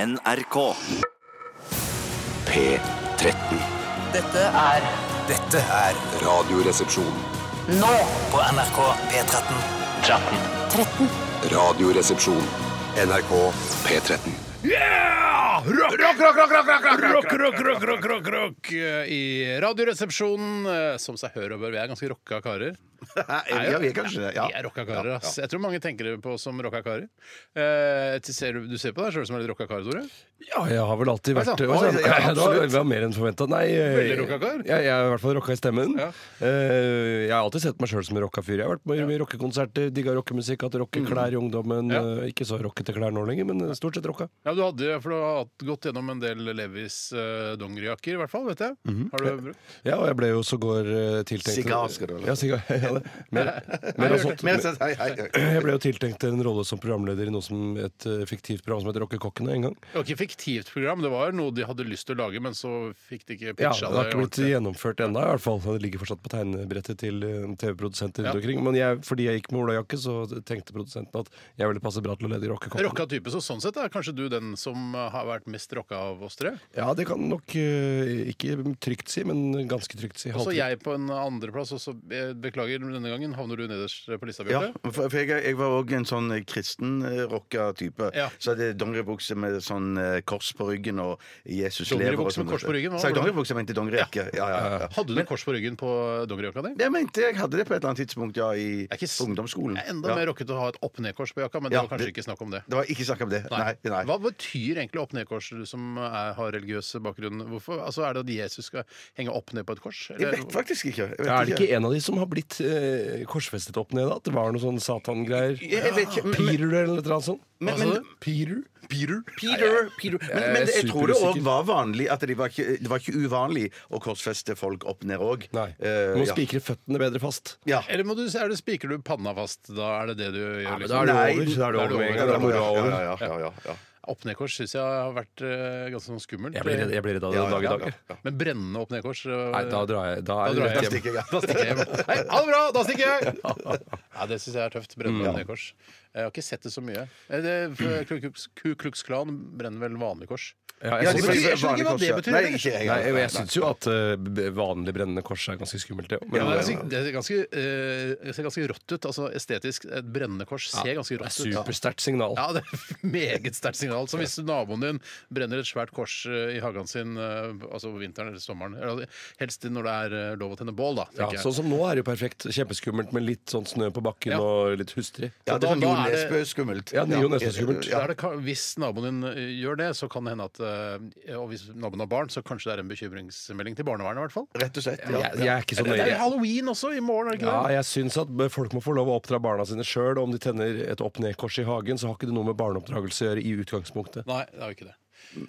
NRK. P13. Dette er Dette er Radioresepsjon. nå på NRK P13. Radioresepsjon. NRK P13. Rock, rock, rock, rock, rock, rock eh, i Radioresepsjonen, eh, som seg hør og bør. Vi er ganske rocka karer. Ja, vi er kanskje det. Ja. Vi er rocka karer, ass. Jeg tror mange tenker på som rocka karer. Eh, til- ser du- Du ser på deg sjøl som en litt rocka kar, Tore? Ja, jeg har vel alltid vært sant? Oi, Oi, sant. ja, Det var, absolutt. det var mer enn forventa. Nei, jeg, Veldig rocka kar. jeg, jeg har i hvert fall rocka i stemmen. Ja. Eh, jeg har alltid sett meg sjøl som en rocka fyr. Jeg har vært på mye rockekonserter, digga rockemusikk, hatt rockeklær i ungdommen. Ja. eh, Ikke så rockete klær nå lenger, men eh, stort sett rocka. Ja, du hadde for du har hatt- gått gjennom en del Levis eh, dongerijakker, i hvert fall. vet jeg. Mhm. Har du brukt? Ja, og jeg ble jo sågar eh, tiltenkt Sigar skal det vel? Ja, sigar. Ja, det. Mer, mer av sånt. Men, så- hei, hei. Jeg ble jo tiltenkt en rolle som programleder i noe som et eh, fiktivt program som heter Rockekokkene en gang. Det var ikke fiktivt program, det var noe de hadde lyst til å lage, men så fikk de ikke Ja, pitcha det har ikke blitt ordentlig. gjennomført ennå, i hvert fall. Det ligger fortsatt på tegnebrettet til eh, TV-produsenter rundt Ja. omkring. Men jeg, fordi jeg gikk med olajakke, så tenkte produsenten at jeg ville passe bra til å lede rockekokken. Rocka type, så sånn sett er kanskje du den som eh, har vært mest rocka av oss tre. Ja, det kan nok eh, ikke trygt si, men ganske trygt si. Og så Halvtrygt. jeg på en andreplass, og så eh, beklager denne gangen, havner du nederst på lista, Ja, Bjarte. for for jeg, jeg var òg en sånn kristen-rocka type. Ja. Så hadde jeg dongeribukse med sånn eh, kors på ryggen og Jesus lever. Dongeribukse og sånn. med kors på ryggen, hva Sa jeg var det? dongeribukse? Jeg mente dongerijakke. Ja, ja, ja. Hadde du kors på ryggen på dongerijakka di? Jeg mente jeg hadde det på et eller annet tidspunkt, ja, i er ikke s- ungdomsskolen. Det er Enda Ja. mer rockete å ha et opp-ned-kors på jakka, men det Ja, var kanskje det- ikke snakk om det. Det var ikke snakk om det. Nei, nei. Hva betyr egentlig opp-ned-kors, du som er, har religiøs bakgrunn? Hvorfor? Altså, er det at Jesus skal henge opp ned på et kors? Jeg Eller- vet faktisk ikke. Jeg vet Er det ikke en av de som har blitt eh, korsfestet opp ned? da? At det var noe sånn satan-greier? Jeg- jeg vet ikke, men- Pirur eller noe sånt? Men- Hva sa Altså, men- du? Pirur? Pirur? Peter, Peter. Men, Jeg er men jeg Eh. tror det òg superusikker. var vanlig at det var, ikke, det var ikke uvanlig å korsfeste folk opp ned òg. Nei. Du må spikre føttene bedre fast. Ja. Eller må du, er det spiker du panna fast? Da er det det du gjør? liksom? da er det Nei, over. Da er det da er det over med en over. gang. Da er moroa over. Ja, ja, ja, ja, ja. Opp-ned-kors syns jeg har vært eh, ganske sånn skummelt. Jeg blir redd, jeg blir redd av det Ja, ja, dag i dag. ja, jeg. Men brennende opp-ned-kors eh, Nei, da drar jeg. Da Da er drar det rett jeg hjem. stikker jeg. Da stikker jeg hjem. Hei, ha det bra! Da stikker jeg! Ja, det syns jeg er tøft. Mm. Brennende opp-ned-kors. Jeg har ikke sett det så mye. Eh, Det, for Ku Klux- Ku Klux Klan brenner vel vanlig kors. Ja, Ja, jeg de syns- jeg skjønner ikke vanlige hva kors, det ja. betyr, Nei, eller? ikke jeg. Nei, jeg, jeg Nei. syns jo at eh, b- vanlig brennende kors er ganske skummelt, det òg. Ja, det, Men er det ganske, det, er ganske, eh, det ser ganske rått ut. Altså estetisk. Et brennende kors ser ganske er rått ut. supersterkt signal. Ja, det er et meget sterkt signal. Som hvis naboen din brenner et svært kors eh, i hagen sin eh, altså på vinteren eller sommeren. Eller helst når det er eh, lov å tenne bål, da. Ja, tenker jeg. sånn som nå er det jo perfekt. Kjempeskummelt med litt sånn snø på bakken Ja. og litt hustrig. Ja, det er Da- sånn da Jo er det- Nesbø-skummelt. Ja, det er Jo Nesbø-skummelt. Ja. Da er det, ka- hvis naboen din eh, gjør det, så kan det hende at eh, Og hvis naboen har barn, så kanskje det er en bekymringsmelding til barnevernet, i hvert fall. Rett og slett. Ja. Jeg, jeg er ikke så Det er nøye. halloween også i morgen, er det ikke Ja, det? jeg syns at b- folk må få lov å oppdra barna sine sjøl. Om de tenner et opp-ned-kors i hagen, så har ikke det noe med barneoppdragelse å gjøre i utgangspunktet. Nei, det er jo ikke det.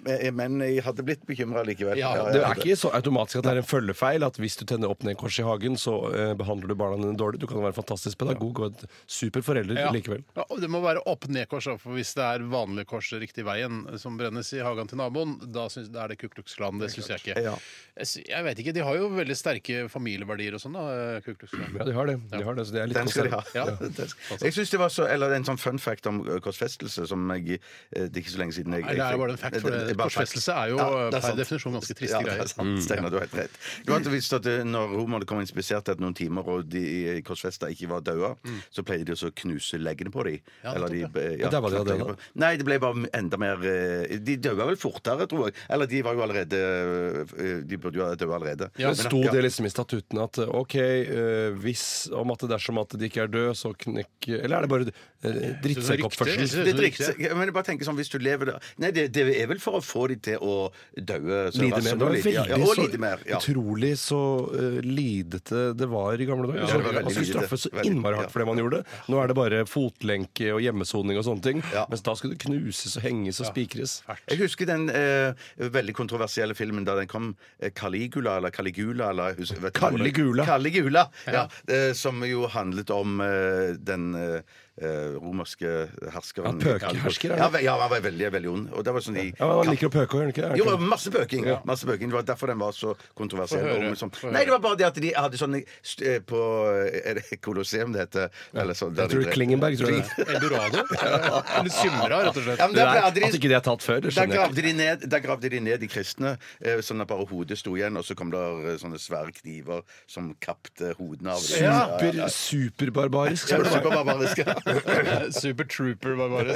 Men- Men jeg hadde blitt bekymra likevel. Ja, Det er ikke så automatisk at det er en følgefeil at hvis du tenner opp-ned-kors i hagen, så eh, behandler du barna dine dårlig. Du kan være en fantastisk pedagog og et super forelder Ja. likevel. Ja, og det må være opp-ned-kors, da, for hvis det er vanlig kors riktig veien eh, som brennes i hagen til naboen, da, syns- da er det Ku Klux Klan. Det syns jeg ikke. Ja. Jeg, sy- jeg vet ikke, De har jo veldig sterke familieverdier og sånn, da, Ku Klux Klan. Ja, de har det. De har det, så de er litt Den skal de ha. Ja. konservative. Den skal- Jeg synes det var så, eller En sånn fun fact om ø, korsfestelse som jeg eh, Det er ikke så lenge siden jeg, jeg Eller er det fikk- bare en fact? For det, er bare fact. korsfestelse er jo eh, Ja, det er per sant. definisjon ganske triste ja, det greier. Mm. er sant. Steinar, du har helt rett. Du har visst at eh, når romerne kom og inspiserte etter noen timer, og de i korsfesta ikke var daua, så pleide de også å knuse leggene på dem. Mm. Ja, nettopp, Og der var de jo døde, da. Nei, det ble bare enda mer eh, De daua vel fortere, tror jeg. Eller de var jo allerede eh, De burde jo ha daua allerede. Men sto det liksom i statuttene at eh, ok, eh, hvis om at det dersom at de ikke er død, så knekker Eller er det bare eh, Det er drittsekkoppførsel? riktig. det er riktig. Jeg mener bare tenke sånn, hvis du lever da- Nei, det, det er vel for å få de til å daue så Lide raskt mer. som Det var mulig. Ja, ja, veldig og så lide mer. Ja. utrolig så eh, lidete det var i gamle dager. det Så, var veldig man skulle lidete. straffes så Veldig, innmari ja. hardt for det man gjorde. Nå er det bare fotlenke og hjemmesoning og sånne ting. Ja. Mens da skulle det knuses og henges og spikres. Jeg husker den eh, veldig kontroversielle filmen da den kom. eh, Caligula eller Caligula eller hus- vet du hva det- Caligula. Caligula, ja, eh, Som jo handlet om eh, den eh, eh, romerske herskeren. Ja, pøkehersker, er det? Ja, ve- ja, han var veldig, veldig ond. Og det var sånn de Ja, men Han liker å pøke, gjør han ikke det? Er det? jo, ikke det? masse pøking. Masse pøking. Det var derfor den var så kontroversiell. Få høre, Og med sånn- få høre. Nei, det var bare det at de hadde sånn eh, på Er det Colosseum det heter? Eller sånn, der Jeg tror det de- er Klingenberg, tror jeg. det er. Eh, Eldorado? Eller Symra, rett og slett. Ja, men der Det ble er- aldri- At ikke det er tatt før, det Der skjønner jeg ikke. gravde, de ned, der gravde de ned de kristne, eh, sånn at bare hodet sto igjen. Og så kom det sånne svære kniver som kapte hodene av dem. Super, superbarbarisk. Ja, som det var. superbarbarisk. Super Trooper var bare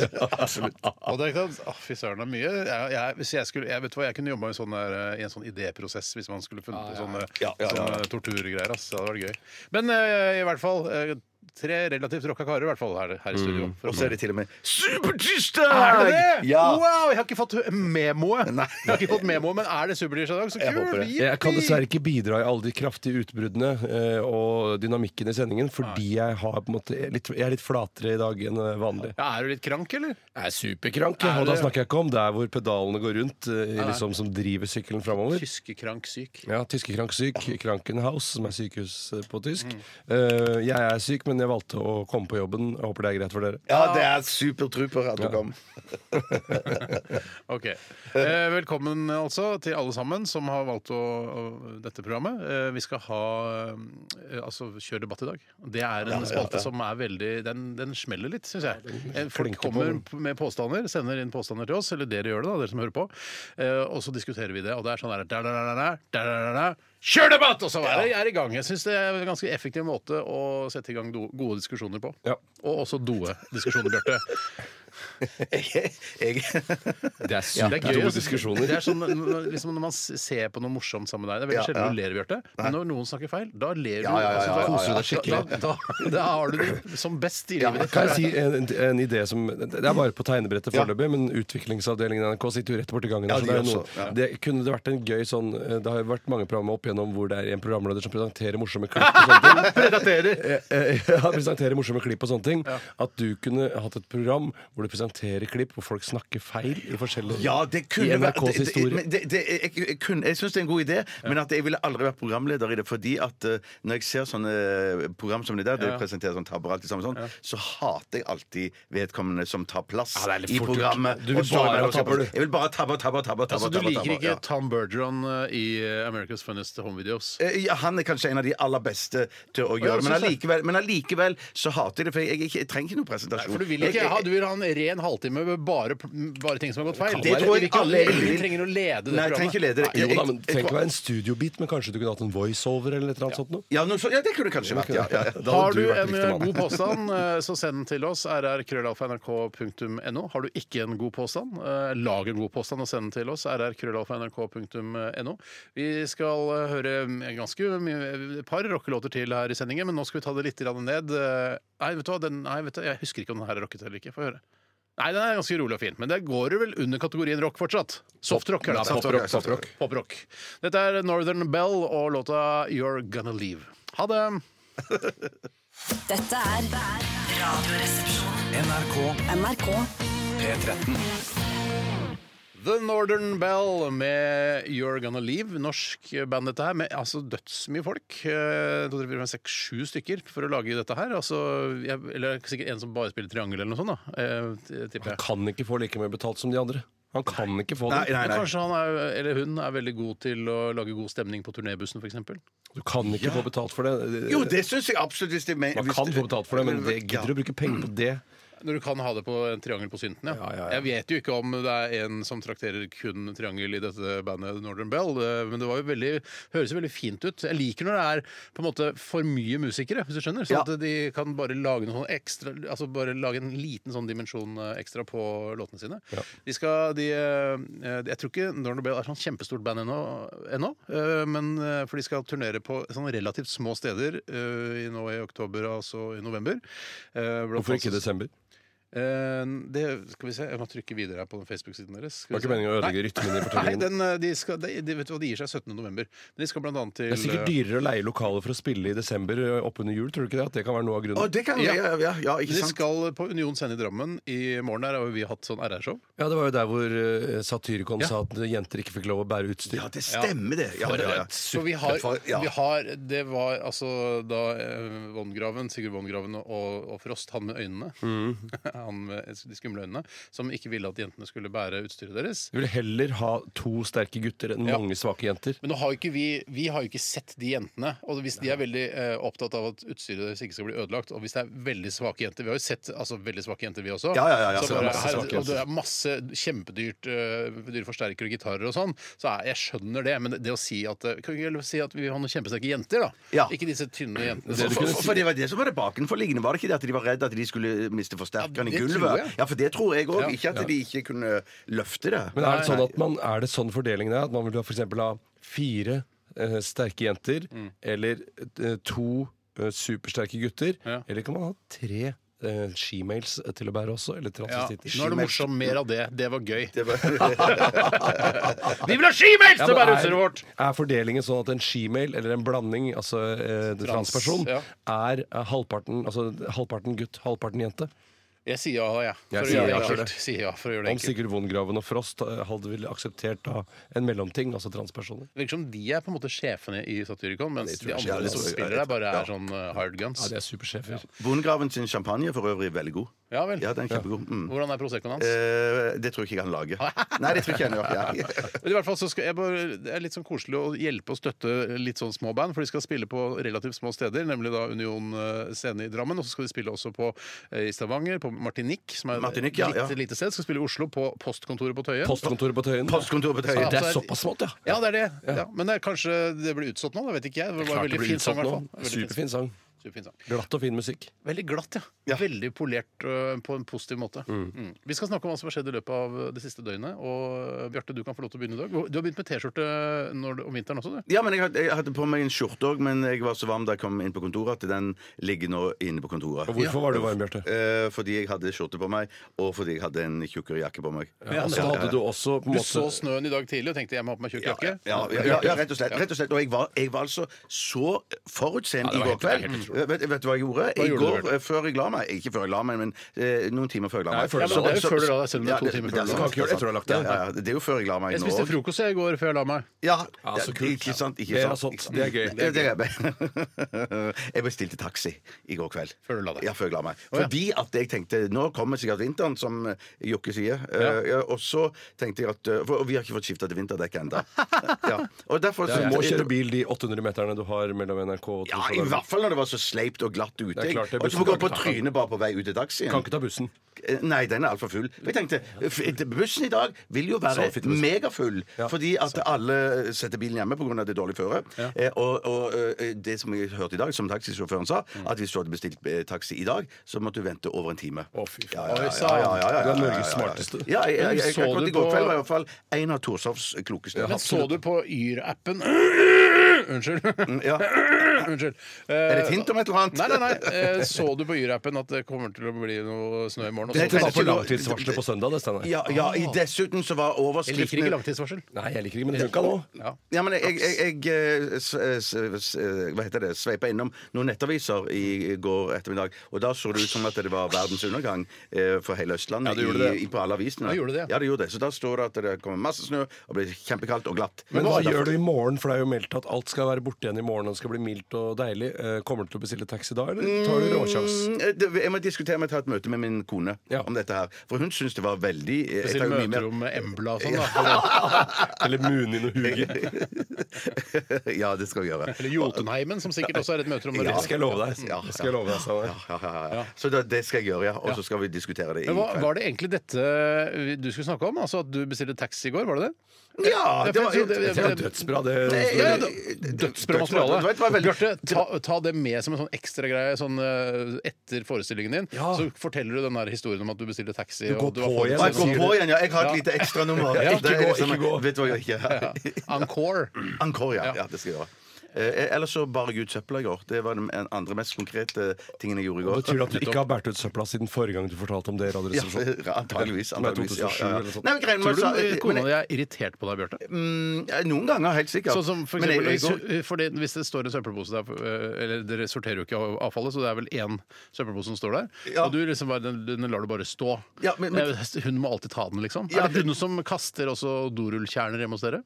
Og det er ikke sant? Å, Fy søren, det er mye. Jeg, jeg, hvis jeg, skulle, jeg vet hva, jeg kunne jobba i, sånn der, eh, i en sånn idéprosess hvis man skulle funnet på sånne, Ja, ja, ja. sånne torturgreier. Ass. Det hadde vært gøy. Men eh, i hvert fall eh, tre relativt rocka karer i hvert fall her, her i studio. For Og oss. så er det til og med Supertirsdag! Er det det? Ja. Wow, jeg har ikke fått memoet! Nei. Jeg har ikke fått memoet, Men er det Superdish i dag? Så Jeg håper kult! det. Jippi! Jeg kan dessverre ikke bidra i alle de kraftige utbruddene eh, og dynamikken i sendingen, fordi jeg, har, på en måte, jeg er litt, jeg er litt flatere i dag enn eh, vanlig. Ja, er du litt krank, eller? Jeg er superkrank, og da snakker jeg ikke om der hvor pedalene går rundt, eh, liksom, som driver sykkelen framover. Tyskekrank-syk. Ja, Tyskekrank-syk, Krankenhaus, som er sykehus eh, på tysk. Eh, jeg er syk, men jeg valgte å komme på jobben. Jeg håper det er greit for dere. Ja, det er supertrooper at du kom. Ok. Eh, velkommen altså til alle sammen som har valgt å, å, dette programmet. Eh, vi skal ha eh, altså kjør debatt i dag. Det er en spalte som er veldig Den, den smeller litt, syns jeg. Eh, folk flinke på kommer den. p- med påstander, sender inn påstander til oss, eller dere gjør det, da, dere som hører på. Eh, og så diskuterer vi det, og det er sånn der, der, der, der, der, der, der, der, der. Kjør debatt! Og så er det er i gang. Jeg syns det er en ganske effektiv måte å sette i gang do, gode diskusjoner på. Ja. Og også doe diskusjoner, Bjarte. Jeg, jeg, Det er Det er gøy. supergode altså. diskusjoner. Det er sånn, når- liksom, når man s- ser på noe morsomt sammen med deg. Det er veldig Ja, sjelden du ja. ler, Bjarte. Men når noen snakker feil, da ler du. Ja, ja, ja, altså, da- ja, ja, Da, ja. da, da, da har du det som best i livet ditt. Kan jeg si en, en, en idé som Det er bare på tegnebrettet foreløpig, men utviklingsavdelingen i NRK sitter jo rett borti gangen. Ja, der, de så det, er jo gjør noe, det kunne det vært en gøy sånn eh, Det har jo vært mange programmer opp igjennom hvor det er en programleder som presenterer morsomme klipp og sånne ting. Eh, eh, Ja, presenterer morsomme klipp og sånne ting. At du kunne hatt et program hvor du presenterer klipp hvor folk snakker feil i forskjellige ja, det i kunne NRKs vært- det- det- historie. men det- det- Jeg, jeg, kunne- jeg syns det er en god idé, men at jeg ville aldri vært programleder i det. Fordi at eh, når jeg ser sånne eh, program som det der, det presenterer sånn tabber og alt det samme, sånn, så hater jeg alltid vedkommende som tar plass Ja, det er litt i fort gjort. programmet. Du vil og står bare mellom- ha tabber, du. Jeg vil bare tabbe og tabbe og tabbe. og tabbe, Altså, du tabbe, liker tabbe, ikke ja. Tom Bergeron eh, i eh, America's Funniest Home Videos? Eh, Ja, han er kanskje en av de aller beste til å gjøre det, men synes jeg. allikevel, men allikevel så hater jeg det. For jeg, jeg, jeg trenger ikke noen presentasjon. For du vil ikke Jeg- ha, jeg- du vil ha en ren halvtime med bare, bare ting som har gått feil. Det tror jeg Du vil ikke alle lede- vil. Du trenger å lede det Nei, jeg trenger programmet. ikke lede det. Jo Jeg- da, men jeg- Tenk å være en studiobit, men kanskje du kunne hatt en voiceover eller et eller annet sånt noe. ja, noe så, ja, det kunne det kanskje vært. Ja, ja. Da Har hadde du vært en riktig eh, mann. god påstand, eh, så send den til oss. rr.krøllalfa.nrk.no. Har du ikke en god påstand, eh, lag en god påstand og send den til oss. rr.krøllalfa.nrk.no. Vi skal eh, høre eh, ganske mye et par rockelåter til her i sendingen, men nå skal vi ta det litt grann ned. Eh, Nei, vet du hva, den, nei, vet du, jeg husker ikke om den her er rocket eller ikke. Få høre. Nei, den er ganske rolig og fin, men det går jo vel under kategorien rock fortsatt. Softrock. er det. poprock, poprock. Poprock. Dette er Northern Bell og låta You're Gonna Leave. Ha det! Dette er Radioresepsjonen. NRK NRK. P13. The Northern Bell med You're Gonna Leave. Norsk band, dette her. Med altså dødsmye folk. Eh, to, tre, fire, fem, seks, sju stykker for å lage dette her. Altså, jeg, eller sikkert en som bare spiller triangel eller noe sånt, da. Eh, tipper Han jeg. kan ikke få like mye betalt som de andre. Han kan ikke få det. Nei, nei, Men nei. kanskje han er, eller hun er veldig god til å lage god stemning på turnébussen, f.eks. Du kan ikke få betalt for det. Jo, det syns jeg absolutt. Hvis det, men, Man hvis kan få betalt for det, men det gidder du å bruke penger på det? Når du kan ha det på en triangel på synten, ja. Ja, ja, ja. Jeg vet jo ikke om det er en som trakterer kun triangel i dette bandet Northern Bell, eh, men det var jo veldig, høres jo veldig fint ut. Jeg liker når det er på en måte for mye musikere, hvis du skjønner. Sånn Ja. at de kan bare lage noe sånn ekstra Altså bare lage en liten sånn dimensjon eh, ekstra på låtene sine. De skal de eh, eh, Jeg tror ikke Northern Bell er sånn kjempestort band ennå, ennå, eh, men eh, for de skal turnere på sånn relativt små steder eh, i- nå i oktober, altså i november. Eh, blant Hvorfor annet- ikke i desember? Eh, det skal vi se. Jeg må trykke videre her på den Facebook-siden deres. Skal vi Det var ikke se. meningen å ødelegge Nei. rytmen i Nei, fortellingen. den, eh, de, skal, de, de, vet du hva, de gir seg 17. november. Men de skal blant annet til Det er sikkert eh, dyrere å leie lokaler for å spille i desember eh, oppunder jul. Tror du ikke det? At det kan være noe av Å, grunnen? det kan vi! Ja. Ja, ja, ja, ja ikke De sant? skal på Union Scene i Drammen i morgen. Der har jo vi hatt sånn RR-show. Ja, det var jo der hvor eh, Satyricon sa at jenter ikke fikk lov å bære utstyr. Ja, det stemmer, det. Ja, ja, ja. Så vi har, for- ja. vi har Det var altså da eh, Vongraven, Sigurd Vongraven og, og Frost, han med øynene Mm. Han med de skumle øynene, som ikke ville at jentene skulle bære utstyret deres. Vi vil heller ha to sterke gutter enn Ja. mange svake jenter. Men nå har jo ikke vi, vi har jo ikke sett de jentene. Og hvis de er veldig eh, opptatt av at utstyret deres ikke skal bli ødelagt, og hvis det er veldig svake jenter Vi har jo sett altså, veldig svake jenter, vi også. Ja, ja, ja, ja, så så det er bare, masse her, svake og det er masse kjempedyrt eh, dyre forsterkere og gitarer og sånn. Så er, jeg skjønner det, men det, det å si at eh, Kan vi ikke si at vi har noen kjempesterke jenter, da? Ja. Ikke disse tynne jentene. Det er som- du For, kunne for, for det var det som var det bakenforliggende. Var det ikke det at de var redd at de skulle miste forsterkeren Ja, i det tror jeg. gulvet? Ja, for det tror jeg òg. Ja. Ikke at de ikke kunne løfte det. Men er det sånn, at man, er det sånn fordelingen er? At man vil ha for eksempel ha fire eh, sterke jenter, Mm. eller eh, to eh, supersterke gutter, Ja. eller kan man ha tre eh, shemales til å bære også, eller ja. transvestitter? Nå er det morsomt. Mer av det. Det var gøy. Det var, Vi vil ha skimels Ja, til å men bære er, utstyret vårt! er fordelingen sånn at en shemale, eller en blanding, altså eh, Trans, transperson, ja. er eh, halvparten, altså, halvparten gutt, halvparten jente? Jeg sier ja, jeg. Jeg For å sier gjøre det ja for det. enkelt. Sier ja for å gjøre det Om enkelt. Sigurd Vongraven og Frost eh, hadde vel akseptert da en mellomting, altså transpersoner? Det virker som de er på en måte sjefene i Satyricon, mens de tror jeg andre som ikke. Ja, det tror jeg. spiller der, bare er sånn eh, hard guns. Ja, de er supersjefer. Bondegraven sin champagne er for øvrig veldig god. Ja vel. Ja, den er kjempegod. Mm. Hvordan er Proseccoen hans? Eh, det tror jeg ikke han lager. Nei, det tror jeg ikke han gjør. Ja. Men i hvert fall så skal jeg bare, Det er litt sånn koselig å hjelpe og støtte litt sånn små band, for de skal spille på relativt små steder, nemlig da Union eh, Scene i Drammen, og så skal de spille også på eh, i Stavanger, på Martinique, som er Martinique, ja, et ja. lite, lite sted. Skal spille i Oslo, på postkontoret på Tøyen. Postkontoret på Tøyen. Postkontoret på Tøyen. Det er Altså, såpass smått, ja. ja, det er det. Ja. Men det er kanskje det blir utsolgt nå, det vet ikke jeg. Det var Klart det veldig blir fin sang, i utsolgt hvert nå. fall. Veldig fin- Superfin sang. Superfin sang. Glatt og fin musikk. Veldig glatt, ja. Veldig polert ø, på en positiv måte. Mm. Vi skal snakke om hva som har skjedd i løpet av det siste døgnet. Og ø, Bjarte, du kan få lov til å begynne i dag. Du har begynt med T-skjorte når du- om vinteren også, du. Ja, men jeg hadde, jeg hadde på meg en skjorte òg, men jeg var så varm da jeg kom inn på kontoret at den ligger nå inne på kontoret. Og hvorfor var du varm, Bjarte? Eh, fordi jeg hadde skjorte på meg, og fordi jeg hadde en tjukkere jakke på meg. Og altså, så hadde du også på en Du måte så snøen i dag tidlig og tenkte jeg må ha på meg tjukk Ja, jakke. ja, ja, ja, ja, rett og slett. Rett og, slett. og jeg, var, jeg var altså så forutseende Ja, det i var går helt- det var kveld. Eh, helt Vet, vet du hva jeg gjorde? gjorde I du, går Bjarte? eh, før jeg la meg Ikke før jeg la meg, men eh, noen timer før jeg la Nei, meg. før du la Så- deg. Det er jo så- før du la deg, selv om det er Ja, to timer før du la deg. Du sant, kan ikke gjøre det etter du har lagt deg. Ja, ja, det er jo før jeg la meg Jeg nå spiste også. frokost jeg i går før jeg la meg. Ja, Ja, så det- kult. Ikke sant? Ikke Det er sant? sånt. Ikke sant? Det er gøy. Det er gøy. Jeg bestilte taxi i går kveld. Før du la deg. Ja, før jeg la meg. ja. Fordi at jeg tenkte Nå kommer sikkert vinteren, som eh, Jokke sier. Eh, ja, Og så tenkte jeg at eh, For og vi har ikke fått skifta til vinterdekk ennå. Ja. Og derfor Du må kjøre bil de 800 meterne du har mellom NRK og Ja, I Tromsø. hvert fall når det var så sleipt og glatt ute. Det er klart, det er og så må jeg gå bussen på kan ikke ta. trynet bare på vei ut til Kan taxien. ikke ta bussen. Eh, Nei, den er altfor full. For Jeg tenkte, f- Bussen i dag vil jo være Så fitte bussen. megafull, fordi at alle setter bilen hjemme pga. det dårlige føret. Eh, Og, og eh, det som jeg hørte i dag, som taxisjåføren sa, Mm. at hvis du hadde bestilt eh, taxi i dag, så måtte du vente over en time. Å, fy faen. Ja, ja, ja, Oi, ja, sann. ja, ja, ja, Du er ja, Norges ja, ja, ja. smarteste. Ja, jeg, jeg, Men jeg, så akkurat du i går på- kveld var i hvert fall en av Torshovs klokeste. Men så du på Yr-appen Unnskyld. Mm, Ja. Unnskyld. Eh, Er det et hint om et eller annet? Nei, nei, nei. Eh, Så du på Yr-appen at det kommer til å bli noe snø i morgen? Og så- Det Du tenker tar jeg på ikke noe- langtidsvarselet på søndag, det, Steinar. Ja, ja, i dessuten så var Ah. Jeg overskriften liker ikke langtidsvarsel. Nei, jeg liker ikke, men det funka nå. Ja. Ja, men jeg, jeg, jeg, eh, s- s- s- eh, Hva heter det? Sveipa innom noen nettaviser i går ettermiddag, og da så det ut som at det var verdens undergang eh, for hele Østlandet. Ja, det gjorde i, det. i, på alle avisene. Ja, gjorde det. Ja, det gjorde det. Så da står det at det kommer masse snø og blir kjempekaldt og glatt. Men hva gjør du i morgen? For det er jo meldt at alt skal være borte igjen i morgen. Og det skal bli mildt og deilig. Eh, Kommer du til å bestille taxi da, eller tar du råsjans? Mm, det, jeg må diskutere med å ta et møte med min kone Ja. om dette her. For hun syns det var veldig eh, jeg Bestille tar jo mye mer- møterom med Embla og sånn, da. for å- Eller Munin og Hugen? ja, det skal vi gjøre. Eller Jotunheimen, som sikkert også er et møterom. der Det ute. skal jeg love deg. Ja, Det skal jeg love deg, Ja, Steinar. ja, ja, ja. Så da, det skal jeg gjøre, ja. Og så skal vi diskutere det i Men hva, kveld. var det egentlig dette du skulle snakke om? Altså At du bestilte taxi i går? var det det? Ja, Ja, det for var jeg trodde- Det var dødsbra, det. Ja, det- det- det- Dødsbra dødsbra. Det var- det materiale. var veldig- Bjarte, ta, ta det med som en sånn ekstragreie sånn, eh, etter forestillingen din. Ja. Så forteller du den der historien om at du bestilte taxi. Du går og du har på fått- igjen. Å, jeg går på igjen, ja. Jeg har et Ja. lite Ja, ekstranummer. Det ikke er gå, liksom- ikke gå. Vet du hva jeg gjør? Encore. Encore, ja. Ja. ja. Det skal jeg gjøre. Eh, ellers så bar jeg ut søpla i går. Det var den en- andre mest konkrete tingen jeg gjorde i går. Betyr det at du ikke har båret ut søpla siden forrige gang du fortalte om det i ja, Radioresepsjonen? sånn? antageligvis. Som er antageligvis 2007 eller noe sånt. Nei, men greien Tror med- du men- kona di er irritert på deg, Bjarte? Mm, ja, Noen ganger, helt sikkert. Sånn som for Men jeg- eksempel, jeg går- hvis- fordi Hvis det står en søppelpose der eh, Eller Dere sorterer jo ikke avfallet, så det er vel én søppelpose som står der. Ja. Og du liksom bare, den, den lar du bare stå. Ja, men- men- Eh, hun må alltid ta den, liksom. Ja, er det hun som kaster også dorullkjerner hjemme hos dere?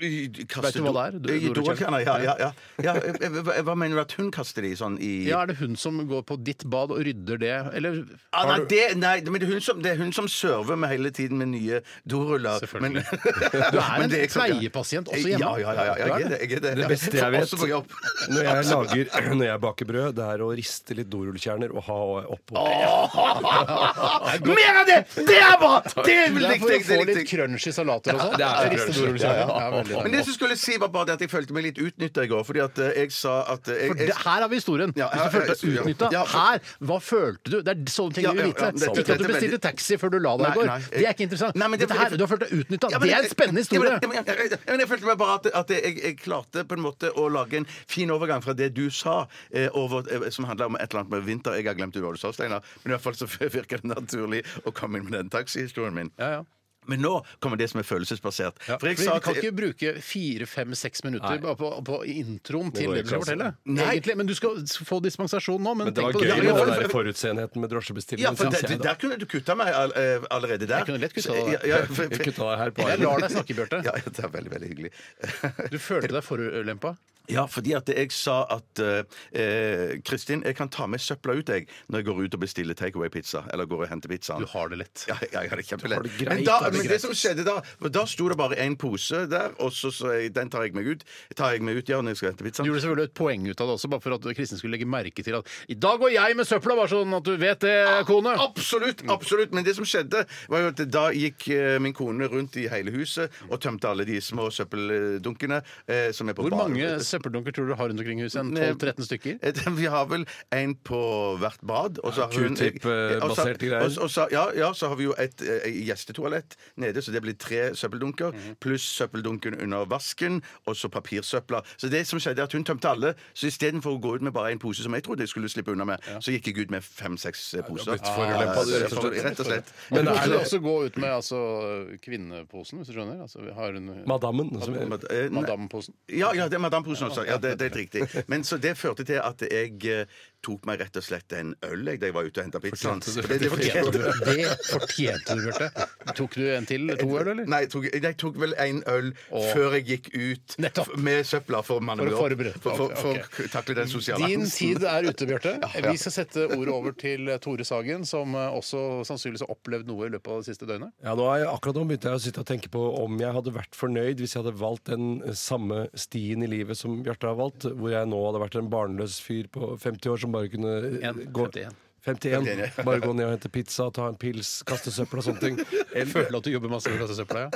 Vet du hva det er? Do- Dorullkjerner? Ja, ja, ja. ja eh, hva, hva mener du at hun kaster de sånn i Ja, Er det hun som går på ditt bad og rydder det? Eller Ah, nei, det, nei, men det er, hun som, det er hun som server meg hele tiden med nye doruller. Men, Selvfølgelig. Du er en Men det er klart- pleiepasient også hjemme. Ja, ja, ja, ja, jeg er det. Jeg er det. Det beste jeg vet Også på jobb. når jeg, lager, når jeg baker brød, det er å riste litt dorullkjerner og ha oppå. Mer av det! Det er bra! Det vil Det er jeg for å få det litt likte jeg. crunch i salater og sånn. det er Riste crunch. dorullkjerner. Ja, veldig Men deilig. det som skulle si var bare det at jeg følte meg litt utnytta i går, fordi at eh, jeg sa at eh, For jeg, det, jeg, her har vi historien. Ja, Hvis du her- følte deg ja, utnytta. ja, for- Her! Hva følte du? Det er sånne ting Ja, vi vil ja, vite. ja, dette- Ikke at du dette er bestilte veldig- taxi før du la deg Nei, i går. nei, Det er ikke interessant. Nei, men det- Dette her, du har følt deg utnytta. Ja, men Det er en spennende Ja, historie. men- ja, men- ja, ja, men jeg følte meg bare at, at jeg, jeg klarte på en måte å lage en fin overgang fra det du sa, eh, over, eh, som handla om et eller annet med vinter. Jeg har glemt hva du sa, Steinar. Men i hvert fall så virker det naturlig å komme inn med den taxihistorien min. Ja, ja. Men nå kommer det som er følelsesbasert. Ja, For jeg fordi sa vi kan at- ikke bruke fire, fem, seks minutter bare på, på introen til går det du skal ikke, fortelle. Nei. Egentlig, men du skal få dispensasjon nå. Men, Men det tenk var på gøy det. Ja, med ja, den for- der forutseenheten med drosjebestillingen. ja, for synes der, jeg, da. der kunne du kutta meg all, eh, allerede der. Jeg kunne lett kutta deg der. Så- Ja, ja, for- Jeg kutta deg her på Jeg armen. lar deg snakke, Bjarte. Ja, det er veldig, veldig hyggelig. Du følte deg forulempa. Ja, fordi at jeg sa at eh, eh, Kristin, jeg kan ta med søpla ut jeg, når jeg går ut og bestiller takeaway-pizza. Eller går og henter pizzaen. Du har det lett. Ja, ja, ja, det er kjempelett. Du har det greit, men da, du har det men greit. det som skjedde da, for da sto det bare én pose der, og så, så jeg, den tar jeg meg ut. Tar jeg meg ut, ja, når jeg skal hente Du pizzaen. gjorde selvfølgelig et poeng ut av det også, bare for at Kristin skulle legge merke til at i dag går jeg med søpla, bare sånn at du vet det, kone. Mm. Absolutt! absolutt, Men det som skjedde, var jo at da gikk eh, min kone rundt i hele huset og tømte alle de små søppeldunkene eh, som er på Hvor bar- mange søppeldunker tror du har rundt omkring i huset? En 12-13 stykker? Eh, Vi har vel en på hvert bad. og så har hun- Eh, Q-tip-baserte og så- greier. og så- og så- Ja, ja, så har vi jo et eh, gjestetoalett nede, så det blir tre søppeldunker. Mhm. Pluss søppeldunken under vasken, og så papirsøpla. Så det som skjedde, er at hun tømte alle. Så istedenfor å gå ut med bare en pose, som jeg trodde jeg skulle slippe unna med, så gikk jeg ut med fem-seks eh, poser. blitt forulempa, Ah, du, rett og slett. Rett og slett. Men Men du er kan det også gå ut med altså, kvinneposen, hvis du skjønner? Altså, vi har en Madammen? Som Mad- eh, nei. Madammeposen. Ja, ja, det er Madame Posen også. Ja, det, det er helt riktig. Men så det førte til at jeg eh, tok meg rett og slett en øl jeg, da jeg var ute og henta pizzaen. Fortjente du. Det- det fortjente du. Det fortjente du, Bjarte. Tok du en til? To øl, eller? Nei, jeg tok, jeg tok vel en øl Åh. før jeg gikk ut Nettopp. med søpla for å manne For å meg opp. forberede. For, for, for, Ok, å takle den sosiale Din angsten. tid er ute, Bjarte. ja. Vi skal sette ordet over til Tore Sagen, som eh, også sannsynligvis har opplevd noe i løpet av det siste døgnet. Ja, nå er jeg, akkurat nå begynte jeg å sitte og tenke på om jeg hadde vært fornøyd hvis jeg hadde valgt den eh, samme stien i livet som Bjarte har valgt, hvor jeg nå hadde vært en barnløs fyr på 50 år som bare kunne eh, En, gå 51. 51. Bare gå ned og hente pizza, ta en pils, kaste søppel og sånne ting. Jeg føler at du jobber masse med kassesøpla, ja.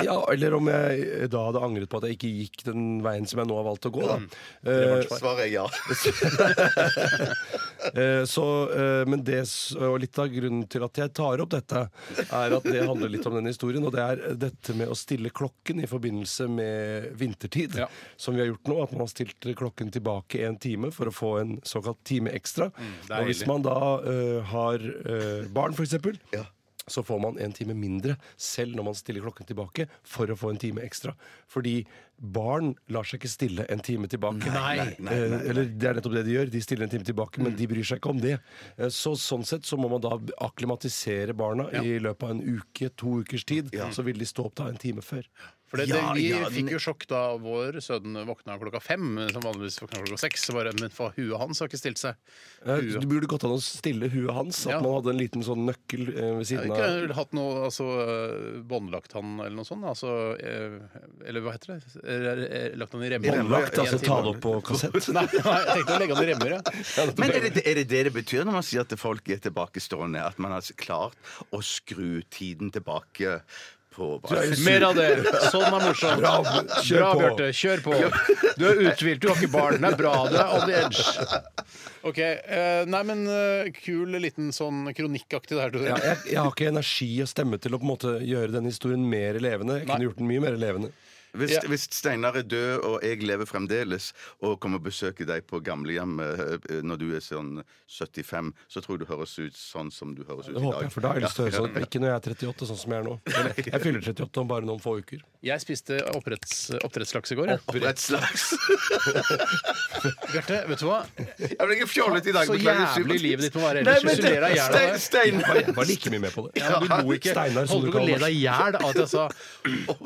Ja, eller om jeg eh, da hadde angret på at jeg ikke gikk den veien som jeg nå har valgt å gå. Da. Eh, Svaret er ja. Eh, så, eh, men det, s- og litt av grunnen til at jeg tar opp dette, er at det handler litt om den historien. Og det er eh, dette med å stille klokken i forbindelse med vintertid, Ja. som vi har gjort nå. At man har stilt klokken tilbake en time for å få en såkalt time ekstra. Mm, det er og hvis hyggelig. man da eh, har eh, barn, f.eks. Ja. Så får man en time mindre selv når man stiller klokken tilbake for å få en time ekstra. Fordi barn lar seg ikke stille en time tilbake. Nei. Mm. Eh, Eller det er nettopp det de gjør. De stiller en time tilbake, men de bryr seg ikke om det. Eh, Så sånn sett så må man da akklimatisere barna i løpet av en uke, to ukers tid. Så vil de stå opp da en time før. For det, Ja, det, vi ja, den- fikk jo sjokk da vår sønn våkna klokka fem, som vanligvis våkna klokka seks. Så bare, men for huet hans har ikke stilt seg. Eh, Huet. Det burde gått an å stille huet hans, at Ja. man hadde en liten sånn nøkkel eh, ved Jeg siden har av. ikke hatt noe altså, eh, båndlagt han eller noe sånt. Altså, eh, eller hva heter det? Eh, Lagt han i remmer. Båndlagt, En altså time. ta det opp på kassett. Nei, nei, jeg tenkte å legge han i remmer, ja. Men er det, er det det det betyr når man sier at folk er tilbakestående? At man har klart å skru tiden tilbake på Mer av det. Sånn er morsomt. Bra, kjør Bra, på. Bjarte. Kjør på. Du er uthvilt, du har ikke barn. Det er bra. Du er on the edge. OK. eh, nei, men eh, kul liten sånn kronikkaktig det her, Tore. Ja, jeg, jeg har ikke energi og stemme til å på en måte gjøre denne historien mer levende. Jeg Nei. kunne gjort den mye mer levende. Hvis, Ja. hvis Steinar er død, og jeg lever fremdeles, og kommer og besøker deg på gamlehjem eh, når du er sånn 75, så tror jeg du høres ut sånn som du høres ut Det i håper dag. jeg, for da har jeg lyst til å høre sånn. Ikke når jeg er 38, sånn som jeg er nå. Eller, Jeg fyller 38 om bare noen få uker. Jeg spiste oppdretts, oppdrettslaks i går. jeg. Oppdrettslaks! Bjarte, vet du hva? Jeg ble ikke fjollete i dag. Så beklager, syv- jævlig livet ditt må være Nei, ellers. men Du ler deg i hjel av Stein- det. Steinar Jeg var like mye med på det. Ja, men du lo ikke. Steinar Holdt du ikke å le Solkalvers. deg i hjel av at jeg sa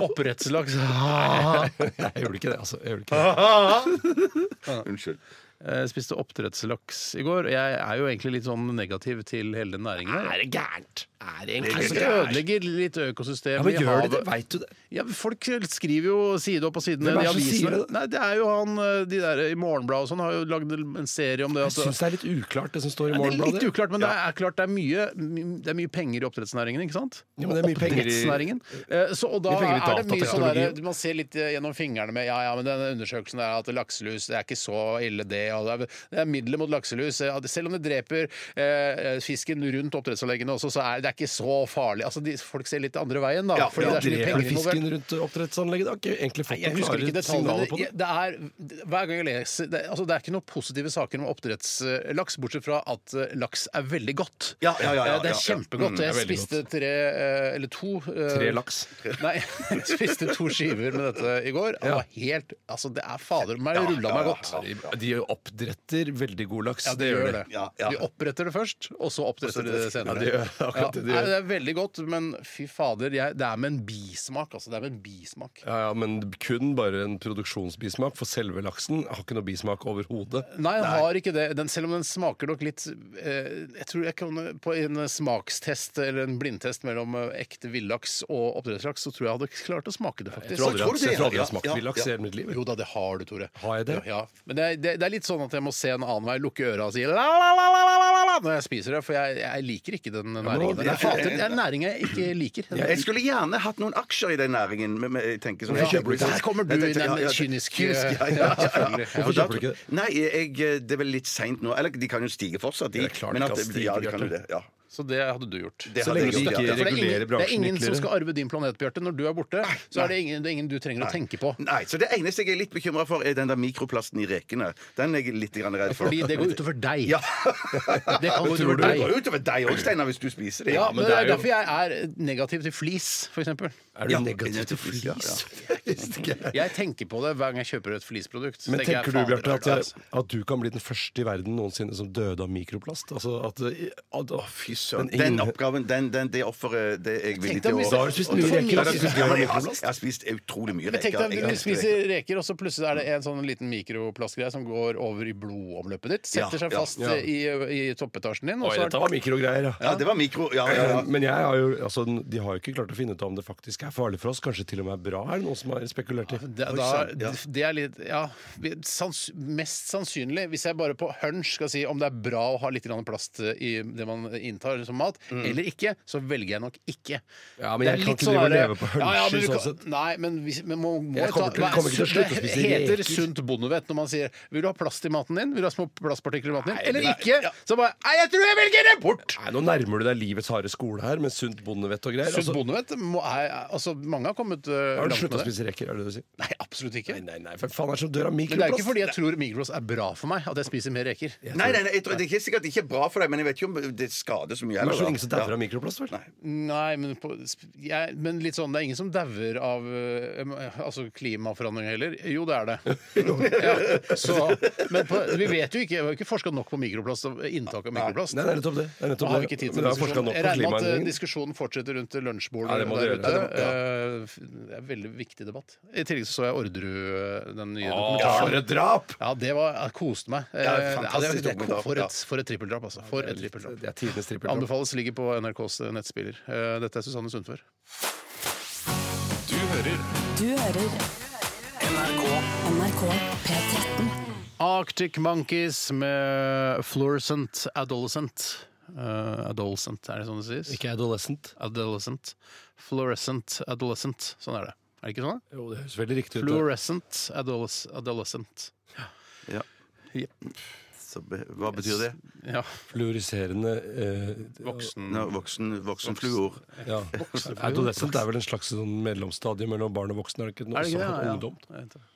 oppdrettslaks? Jeg gjorde ikke det, altså. Jeg gjorde ikke det. Unnskyld. Jeg spiste oppdrettslaks i går. og Jeg er jo egentlig litt sånn negativ til hele den næringen. der. det gærent? Er det egentlig Altså, det ødelegger litt økosystemet Ja, men i gjør havet. det det? Veit du det? Ja, men folk skriver jo side opp og side ned Hvem er i det som sier avisene. det? Nei, det er jo han eh, de der i Morgenbladet og sånn har jo lagd en serie om det. Jeg altså. syns det er litt uklart, det som står i Ja, det er litt Morgenbladet. uklart, men det er klart det er mye, my- det er mye penger i oppdrettsnæringen, ikke sant? Ja, men det er mye penger i- Oppdrettsnæringen. Eh, Så, og da Mye penger i er det mye sånn datateknologi. der, man ser litt eh, gjennom fingrene med ja, ja, men denne undersøkelsen er at lakselus det er ikke så ille det, og det er, det er midler mot lakselus. eh, at Selv om det dreper eh, fisken rundt oppdrettsanleggene også, så er det ikke så farlig. Altså, de, folk ser litt andre veien, da. Ja, fordi det er ja, så mye Dreper penger involvert. fisken rundt oppdrettsanlegget? Det har ikke egentlig fått Jeg noen husker ikke klare detaljene. signaler men på det. Det er, hver gang jeg leser det, altså det er ikke noen positive saker om oppdrettslaks, bortsett fra at eh, laks er veldig godt. Ja, ja, ja, ja, Eh, det er ja, ja. kjempegodt. Mm, det er jeg veldig spiste tre eh, eller to eh, Tre laks. Nei, jeg spiste to skiver med dette i går. Det var helt Altså, det er fader meg det rulla meg godt. De, de oppdretter veldig god laks. Ja, det gjør det. Ja, ja. De oppretter det først, og så Og så oppretter de det det- senere. Ja, de gjør akkurat det de Ja, nei, gjør. det er veldig godt, men fy fader, jeg, det er med en bismak. Altså, det er med en bismak. Ja, ja, Men kun bare en produksjonsbismak, for selve laksen har ikke noe bismak overhodet. Nei, den har ikke det. Den, selv om den smaker nok litt eh, Jeg tror jeg kan på en smakstest eller en blindtest mellom eh, ekte villaks og oppdrettslaks, så tror jeg hadde klart å smake det, faktisk. Jeg tror aldri tror du det, jeg tror aldri ja, jeg har smakt ja, villaks ja. i hele mitt liv. Jo da, det har du, Tore. Har jeg det? Ja, ja. Men det er, det, det er litt sånn at jeg må se en annen vei, lukke øra og si la, la, la, la, la, la, la, når jeg spiser det, for jeg, jeg liker ikke den næringen. det Det er, fater, det er en næring jeg ikke liker. Jeg skulle gjerne hatt noen aksjer i den næringen. Men, men jeg tenker sånn Ja, der kommer du Jeg inn, den ja, ja, kyniske- kynisk, ja, Ja, ja, selvfølgelig. ja. Og Hvorfor da- kjøper du ikke det? Nei, jeg, det er vel litt seint nå. Eller de kan jo stige fortsatt, de. Det er klart men de kan stige, ja, de kan jo Bjarte. det. Ja. Så det hadde du gjort. Det Så hadde lenge jeg du gjort, ikke ja. For det er regulerer ingen, det er bransjen ingen som ytterligere. skal arve din planet, Bjarte. Når du er borte, så er det ingen, det er ingen du trenger å tenke på. Nei, så Det eneste jeg er litt bekymra for, er den der mikroplasten i rekene. Den er jeg litt grann redd for. Fordi det går utover deg. Ja. Det kan gå Det utover går deg. jo utover deg òg, Steinar, hvis du spiser det. Ja, men det er jo- derfor jeg er negativ til flis, f.eks. Er du Ja. negativ til flis? Ja, Jeg visste ikke. Jeg tenker på det hver gang jeg kjøper et flisprodukt. Men jeg, tenker du, fader, Bjarte, det er at, at du kan bli den første i verden noensinne som døde av mikroplast? Altså at Å, å, fy søren. Den ingen- oppgaven, den, den, det offeret, det er jeg deg villig til om å hvis- Da har du spist mye reker. Ja, da. det er- ja, men Jeg har jeg har spist utrolig mye Men tenk reker. deg Jeg om har du spist reker. spiser reker, og så plutselig er det en sånn liten mikroplastgreie som går over i blodomløpet ditt. Setter Ja, seg ja, fast ja. I, i toppetasjen din. Oi, Og så dette er, var altså, mikrogreier, ja. Ja, det var mikro... Ja, ja, ja. Men jeg har jo, altså, de har jo ikke klart å finne ut av om det faktisk er farlig for oss. Kanskje til og med er bra, er det noen som har spekulert i. det, da, det er litt Ja, vi- sans, mest sannsynlig, hvis jeg bare på hunch skal si om det er bra å ha litt grann plast eh, i det man inntar som mat, eller ikke, så velger jeg nok ikke. Mm. Ja, men Det er jeg kan litt sånn ikke drive og der- leve på Ja, ja, men hunsjer du kan- sånn sett. Nei, men, hvis, men må, må Jeg jo kommer ta- til- hva er kommer ikke til å sunt- slutte å spise Det heter reker. sunt bondevett når man sier 'vil du ha plast i maten din'? Vil du ha små plastpartikler i maten din? Nei, Eller nei, ikke? Så bare 'nei, jeg tror jeg velger det bort'! Nei, Nå nærmer du deg livets harde skole her med sunt bondevett og greier. Sunt Altså, bondevett må, er, altså, Mange har kommet uh, har du langt slutta med å det. spise reker, er det det du sier? Nei, absolutt ikke. Nei, nei, nei, for faen er det som dør av Men det er jo ikke mikroplast? fordi jeg tror mikros er bra for meg, at jeg spiser mer reker. Nei, nei, nei, jeg tror, det er ikke sikkert ikke er bra for deg, men jeg vet ikke om det skader så mye. Det heller, er så da. ingen som dauer Ja. av mikroplast, vel? Nei, men, på, sp- jeg, men litt sånn, det er ingen som dauer av eh, altså klimaforandring heller. Jo, det er det. ja, så, men på, vi vet jo ikke, vi har jo ikke forska nok på mikroplast og inntak av mikroplast. Nei, det er nettopp det. det, er Da nettopp har det. vi ikke tid Men til da har jeg forsket diskusjonen. nok Jeg på regner med at eh, klimaendringer. diskusjonen fortsetter rundt lunsjbordet Ja, det må der dere ute. gjøre. Eh, f- Det er veldig viktig debatt. I tillegg så så jeg Orderud, eh, den nye Ja, dokumentaren. for et drap! Ja, det var, jeg koste meg. Eh, Ja, det er- fantastisk det er- dokumentar, For ja. et, for et trippeldrap, altså. For et trippeldrap. Det er tidenes trippeldrap. Anbefales ligger på NRKs nettspiller. Eh, Dette er Susanne Sundfør. Du hører NRK P13. Arctic Monkeys med Fluorescent Adolescent. Eh, adolescent, er det sånn det sies? Ikke adolescent. Adolescent. Fluorescent Adolescent. Sånn er det. Er det ikke sånn? da? Jo, det høres veldig riktig ut. Fluorescent adoles Adolescent. Ja. Jepp. Så be- Hva betyr det? Ja. Fluoriserende eh, Voksen No, voksen, voksenfluor. ja. Adolescent er vel en slags sånn mellomstadie mellom barn og voksne? Er det ikke noe sånt ungdom? Jeg vet ikke.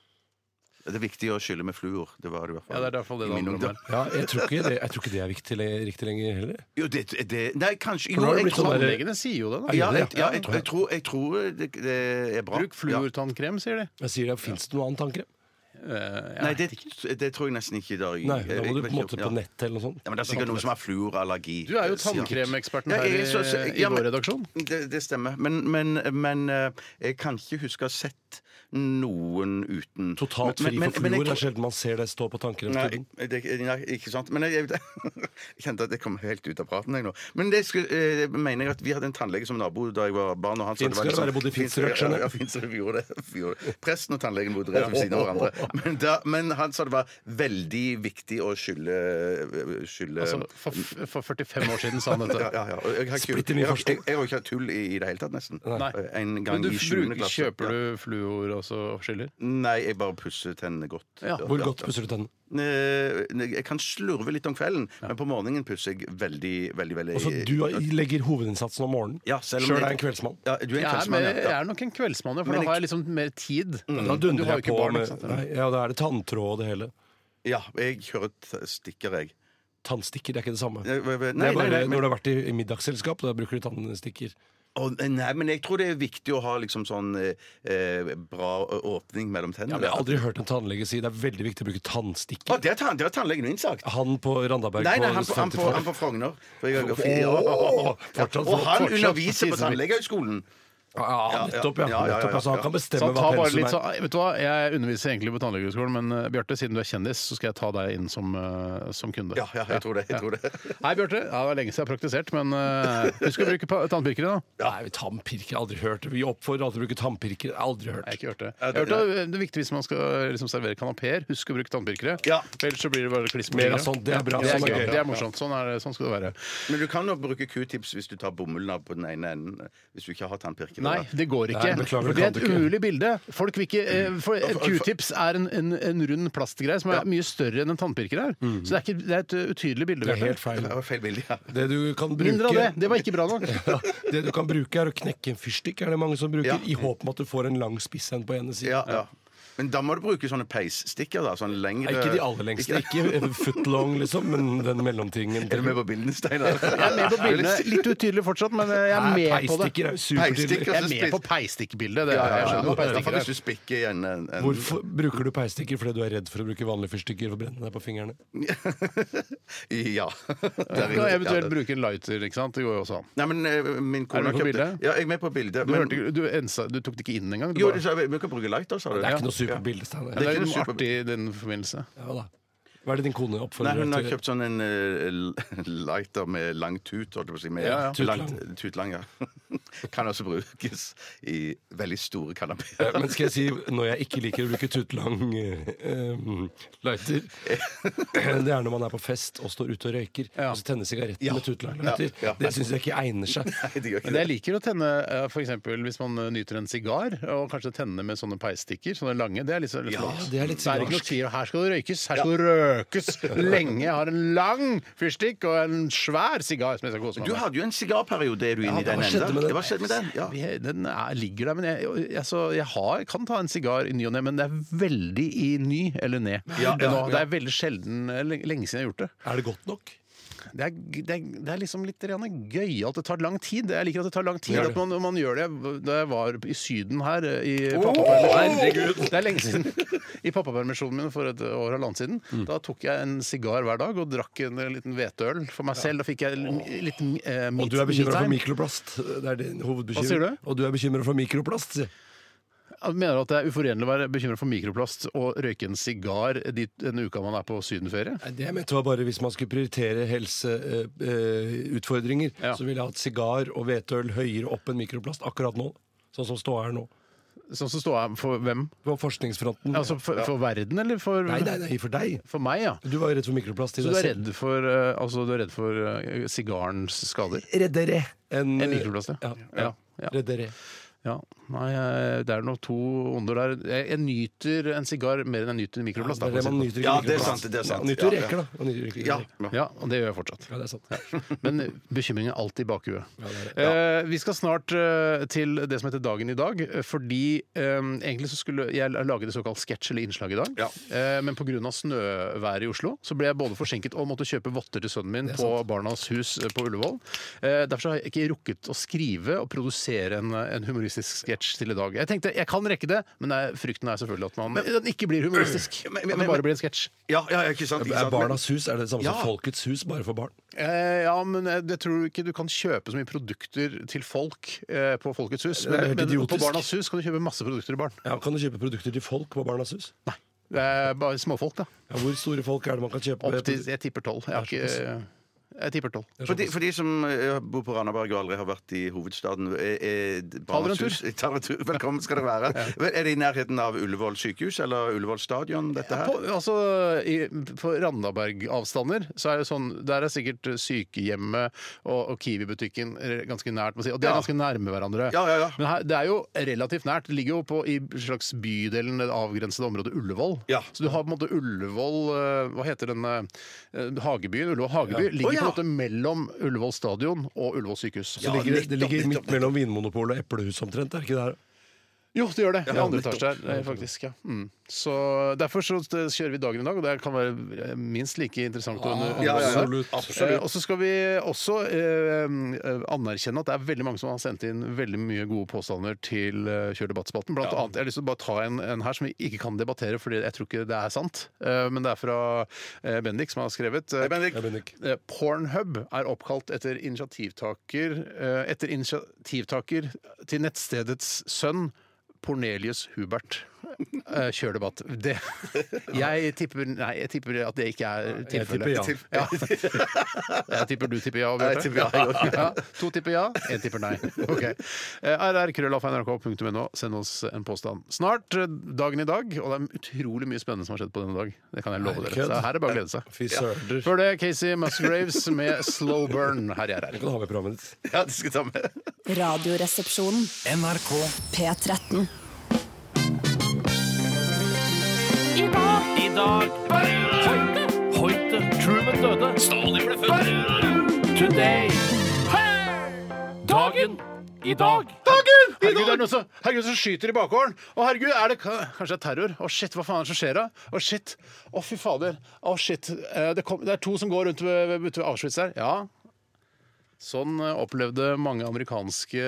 Det er viktig å skylde med fluor. Det var det i hvert Ja, fall. det er i hvert fall det i det min handler om ungdom. her. Ja, jeg tror ikke det, jeg tror ikke det er viktig, le- riktig lenger heller. Jo, det, det Nei, kanskje For jo, nå har det jeg, blitt sånn tror, der- Tannlegene sier jo det, da. ja, Ja, jeg, ja, jeg, ja. jeg, tror, jeg tror det, det er bra. Bruk fluortannkrem, sier de. Jeg sier det, Fins det noe annen tannkrem? Eh, Ja. jeg Nei, vet det, ikke. det tror jeg nesten ikke i dag. Nei, Jeg- da jeg må du på vet en ikke. måte på Ja. nettet eller noe sånt. Ja, men Det er sikkert noen som har fluorallergi. Du er jo sikkert. tannkremeksperten Eh, Ja, her jeg er så- så- i, i ja, men- vår redaksjon. Det, det stemmer. Men, men, men eh, jeg kan ikke huske å ha sett noen uten. Totalt Men- fri men- for men jeg- fluor. Det er sjelden man ser det stå på Nei, tannkremstubben. det, nei, ikke sant. Men jeg, jeg kjente at jeg kom helt ut av praten. Jeg nå. Men det skulle, eh, mener jeg at vi hadde en tannlege som nabo da jeg var barn. Og han sa det var Finsker, dere bodde i Finsker, Finsker, skjønner jeg. ja, Finsker, vi gjorde det. Vi gjorde det. Presten og tannlegen bodde rett ved siden av hverandre. Men, da, men han sa det var veldig viktig å skylde, skylde Altså, for, f- for 45 år siden sa han dette. Eh, ja, ja, ja. Og Jeg har ikke- Splitter ny jeg har- forstand. jeg- jeg har ikke hatt tull i, i det hele tatt, nesten. Nei. En gang Men du i 7. bruker, klasse. kjøper Ja. du fluor også og skyller? Nei, jeg bare pusser tennene godt. Ja, Hvor godt pusser du tennene? Eh, nei, Jeg kan slurve litt om kvelden, men på morgenen pusser jeg veldig, veldig veldig Og så Altså, Du legger hovedinnsatsen om morgenen. Ja, selv om Sjøl er jeg en jeg- kveldsmann. Ja, du er en Jeg er, kveldsmann, mer, ja. jeg ja. er nok en kveldsmann, ja, for Men da Mm. jeg- har jeg liksom mer tid. Da Du dundrer har jo jeg ikke på barn, ikke med sant? nei, Ja, det er det tanntråd og det hele. Ja, jeg kjører t- stikker, jeg. Tannstikker det er ikke det samme. Nei, nei, det nei, er bare nei, men, når du har vært i, i middagsselskap, da bruker du tannstikker. Å, nei, men jeg tror det er viktig å ha liksom sånn eh, eh, bra åpning mellom Ja, tennene. men jeg har aldri hørt en tannlege si det er veldig viktig å bruke Å, tannstikker. det har tann- det har tannlegen min sagt. Han på Randaberg Nei, nei, han på på, han på, han 50-tallet. på Frogner. For jeg, Åh, ja, fortsatt- og han fortsatt- sånn. underviser på tannlegehøgskolen. Ja, nettopp, ja. Ja, ja, ja, nettopp, altså, ja. han kan Så bestemme hva ta bare pensum litt, sånn- så, er. vet du hva, Jeg underviser egentlig på Tannlegehøgskolen, men eh, Bjarte, siden du er kjendis, så skal jeg ta deg inn som, eh, som kunde. Ja, ja, jeg tror det. Jeg tror det. Hei, Bjarte. Ja, det er lenge siden jeg har praktisert, men eh, husk å bruke pa- tannpirkere, da. Nei, vi tannpirker, aldri hørt. Vi oppfordrer alltid å bruke tannpirker. Aldri hørt. Jeg har ikke hørt det. Jeg har hørt det, det er viktig hvis man skal liksom, servere kanapeer. Husk å bruke tannpirkere. Ja. Ellers så blir det bare kliss på Mer av fingrene. sånt, det er bra. Det er, Sånn er gøy. gøy. Det er morsomt. Sånn, er det, sånn skal det være. Men du kan jo bruke q-tips hvis du tar bomullen av på den ene enden. Hvis du ikke har tannpirker. Nei, det går ikke. Nei, beklager, Mm. for det er et det kan du ikke. umulig bilde. Folk vil ikke eh, for Et q-tips er en, en, en rund plastgreie som er mye større enn en tannpirker er. Så det er, ikke, det er et uh, utydelig bilde. Mm. Det er Bjarte. helt feil. Det var feil bilde, ja. Det du kan bruke Mindre av det! Det var ikke bra nok. ja, det du kan bruke, er å knekke en fyrstikk, er det mange som bruker, Ja. i håp om at du får en lang spiss en på ene siden. ja, ja. Men da må du bruke sånne peisstikker, da. Sånne lengre Nei, Ikke de aller lengste, Ikke- ikke footlong, liksom, men den mellomtingen. Er du med på bildene, Steinar? Jeg er med på bildene. Litt utydelig fortsatt, men eh, jeg er med på det. Peistikker er jo supertydelig. Peistikker. Jeg er med på peistikkbildet. Det Ja, er, ja, jeg ja. skjønner hva I hvert peistikker fall er. hvis du spikker igjen en, en Hvorfor bruker du peistikker? Fordi du er redd for å bruke vanlige fyrstikker og brenne deg på fingrene? Ja. Du kan eventuelt bruke en lighter, ikke sant. Det går jo også an. Nei, men eh, min Er kone du med på bildet? Ja, jeg er med på bildet. Du, men- hørte, ikke- du, ensa, du tok det ikke inn engang? Du Jo, bare- du sa vi kan bruke lighter, sa du. Det er ikke noe supert bilde, Steinar. Men det det er er jo noe ikke noe artig i den forbindelse. Ja, da. Hva er det din kone Nei, oppfordrer hun har deg til? kjøpt sånn en eh, lighter med lang tut, holdt jeg på å si. Med Ja, ja. Tutlang. langt- tutlang, ja. Kan også brukes i veldig store Eh, kanapeer. Men skal jeg si, når jeg ikke liker å bruke tutelang eh, eh, lighter Det er når man er på fest og står ute og røyker, Ja. og så tenner sigaretten Ja. med tutelang lighter. Ja, ja. Det syns jeg ikke egner seg. Nei, det gjør ikke Men jeg det. liker å tenne eh, for eksempel hvis man eh, nyter en sigar, og kanskje tenne med sånne peisstikker. Sånne lange. Det er litt sånn Ja, det er litt Så er det ikke noe sigarsk. tvil. Her skal det røykes! Her skal det røkes lenge! Jeg har en lang fyrstikk og en svær sigar som jeg skal kose meg Du hadde jo en sigarperiode, er du inne i Ja, den hva skjedde med enda? den? Det var skjedd med den? Ja. Vi- Den er, ligger der, men jeg, jeg, så, jeg har, kan ta en sigar i ny og ne, men det er veldig i ny eller ned. Ja, ja, Nå, ja. det er veldig sjelden eh, le- Lenge siden jeg har gjort det. Er det godt nok? Det er, det, er, det er liksom litt grann gøy at det tar lang tid. Jeg liker at det tar lang tid Det gjør at man, man gjør det. Da jeg var i Syden her eh, i pappapermisjonen Det er lenge siden. I pappapermisjonen min for et år og halvannet siden. Mm. Da tok jeg en sigar hver dag og drakk en liten hveteøl for meg selv. Da fikk jeg en liten eh, Og meat- du er bekymra for me-time. mikroplast. Det er din hovedbekymring. Hva sier du? Og du er bekymra for mikroplast. sier jeg. Jeg Mener du at det er uforenlig å være bekymra for mikroplast og røyke en sigar dit- den uka man er på sydenferie? Nei, Det jeg mente var bare hvis man skulle prioritere helseutfordringer, Ja. så ville jeg hatt sigar og hvetøl høyere opp enn mikroplast akkurat nå. Sånn som står her nå. Sånn som står jeg for hvem? På forskningsfronten. Altså for, for verden, eller for Nei, nei, nei, for deg. For meg, ja. Du var jo redd for mikroplast. i Så du deg er selv. redd for, eh, altså, du er redd for eh, sigarens skader? Reddere enn En mikroplast, ja. ja. ja. Reddere. Ja, nei, eh, det er nok to onder der. Jeg, jeg nyter en sigar mer enn jeg nyter en mikroplast. Det da, er det for å man si det nyter Ja, ikke det er mikroplast. sant, det er sant. Man nyter Ja, reker, da. Man nyter ikke Ja. reker. sånn. Ja, og det gjør jeg fortsatt. ja, det er sant. Men bekymringen er alltid i bakhuet. det eh, vi skal snart eh, til det som heter Dagen i dag, eh, fordi eh, egentlig så skulle jeg lage det såkalt sketsj eller innslag i dag, Ja. eh, men pga. snøværet i Oslo så ble jeg både forsinket og måtte kjøpe votter til sønnen min på Barnas Hus eh, på Ullevål. Eh, derfor har jeg ikke rukket å skrive og produsere en, eh, en humoristisk sketsj til i dag. Jeg tenkte jeg kan rekke det, men eh, frykten er selvfølgelig at man den ikke blir humoristisk. Men- At men- det men- bare blir en sketsj. Ja, ja, ja, ikke sant? Ikke Er sant? Men- Barnas hus er det det samme Ja. som Folkets hus, bare for barn? Eh, ja, men jeg jeg tror ikke du kan kjøpe så mye produkter til folk eh, på Folkets hus. Det er Men, helt men på idiotisk. Barnas hus kan du kjøpe masse produkter til barn. Ja, kan du kjøpe produkter til folk på Barnas hus? Nei. Det er bare småfolk, da. Ja, hvor store folk er det man kan kjøpe? Opp til Jeg tipper tolv. Jeg, har ikke- jeg tipper tolv. For de, for de som eh, bor på Randaberg og aldri har vært i hovedstaden er, er Barnas dere en Hus- tar dere en tur. Velkommen skal dere være. Vel, Er det i nærheten av Ullevål sykehus eller Ullevål stadion, dette her? På, altså, i, på Randaberg-avstander så er det sånn Der er sikkert sykehjemmet og, og Kiwi-butikken ganske nært. må jeg Si. Og de er Ja. ganske nærme hverandre. Ja, ja, ja. Men her, det er jo relativt nært. Det ligger jo på, i slags bydelen, det avgrensede området Ullevål. Ja. Så du har på en måte Ullevål eh, Hva heter den eh, Hagebyen? Ullevål Hageby ligger Å, ja. på en måte mellom Ullevål stadion og Ullevål sykehus. Det Ja, ligger, det nettopp, ligger nettopp, midt mellom Vinmonopolet og Eplehuset omtrent, er det ikke det her? Jo, det gjør det. I Ja, andre nettopp. etasje her, eh, faktisk. Ja. Mm. Så Derfor så eh, kjører vi dagen i dag, og det kan være eh, minst like interessant. å under- Ah, Ja, ja, ja. Absolutt. Eh, og så skal vi også eh, eh, anerkjenne at det er veldig mange som har sendt inn veldig mye gode påstander til eh, Kjør debattspalten. Blant annet, jeg har lyst til å bare ta en, en her som vi ikke kan debattere, fordi jeg tror ikke det er sant. Eh, men det er fra eh, Bendik, som har skrevet. eh, Nei, Bendik. Ja, Bendik. eh, Pornhub er oppkalt etter initiativtaker, eh, etter initiativtaker til nettstedets sønn Pornelius Hubert. Eh, Kjør debatt. Det. Jeg, tipper, nei, jeg tipper at det ikke er Jeg tipper tilfellet. ja. Ja. Jeg tipper du tipper ja, Jeg tipper ja, jeg også. Ja, to tipper ja, én tipper nei. Ok. Eh, rrkrøllalfa.nrk.no. Send oss en påstand. Snart eh, dagen i dag, og det er utrolig mye spennende som har skjedd på denne dag. Det kan jeg love Nei, dere. kødd. Så her er det bare å glede seg. Fy søren. Før det, Casey Musgraves med Slow Burn her i RR. Du kan ha med programmet ditt. Ja, det skal jeg ta med. Radioresepsjonen. NRK P13. I dag Hoite Hoite Truman døde Stalin ble født Today Dagen I dag Dagen! Herregud, det er noen som, herregud, som skyter i bakgården! Å, herregud, er det ka- kanskje det er terror? Å, shit, hva faen er det som skjer da? Å, shit. Å, fy fader. Å, shit. Eh, Det, kom, det er to som går rundt ved, ved, ute ved Auschwitz her. Ja. Sånn eh, opplevde mange amerikanske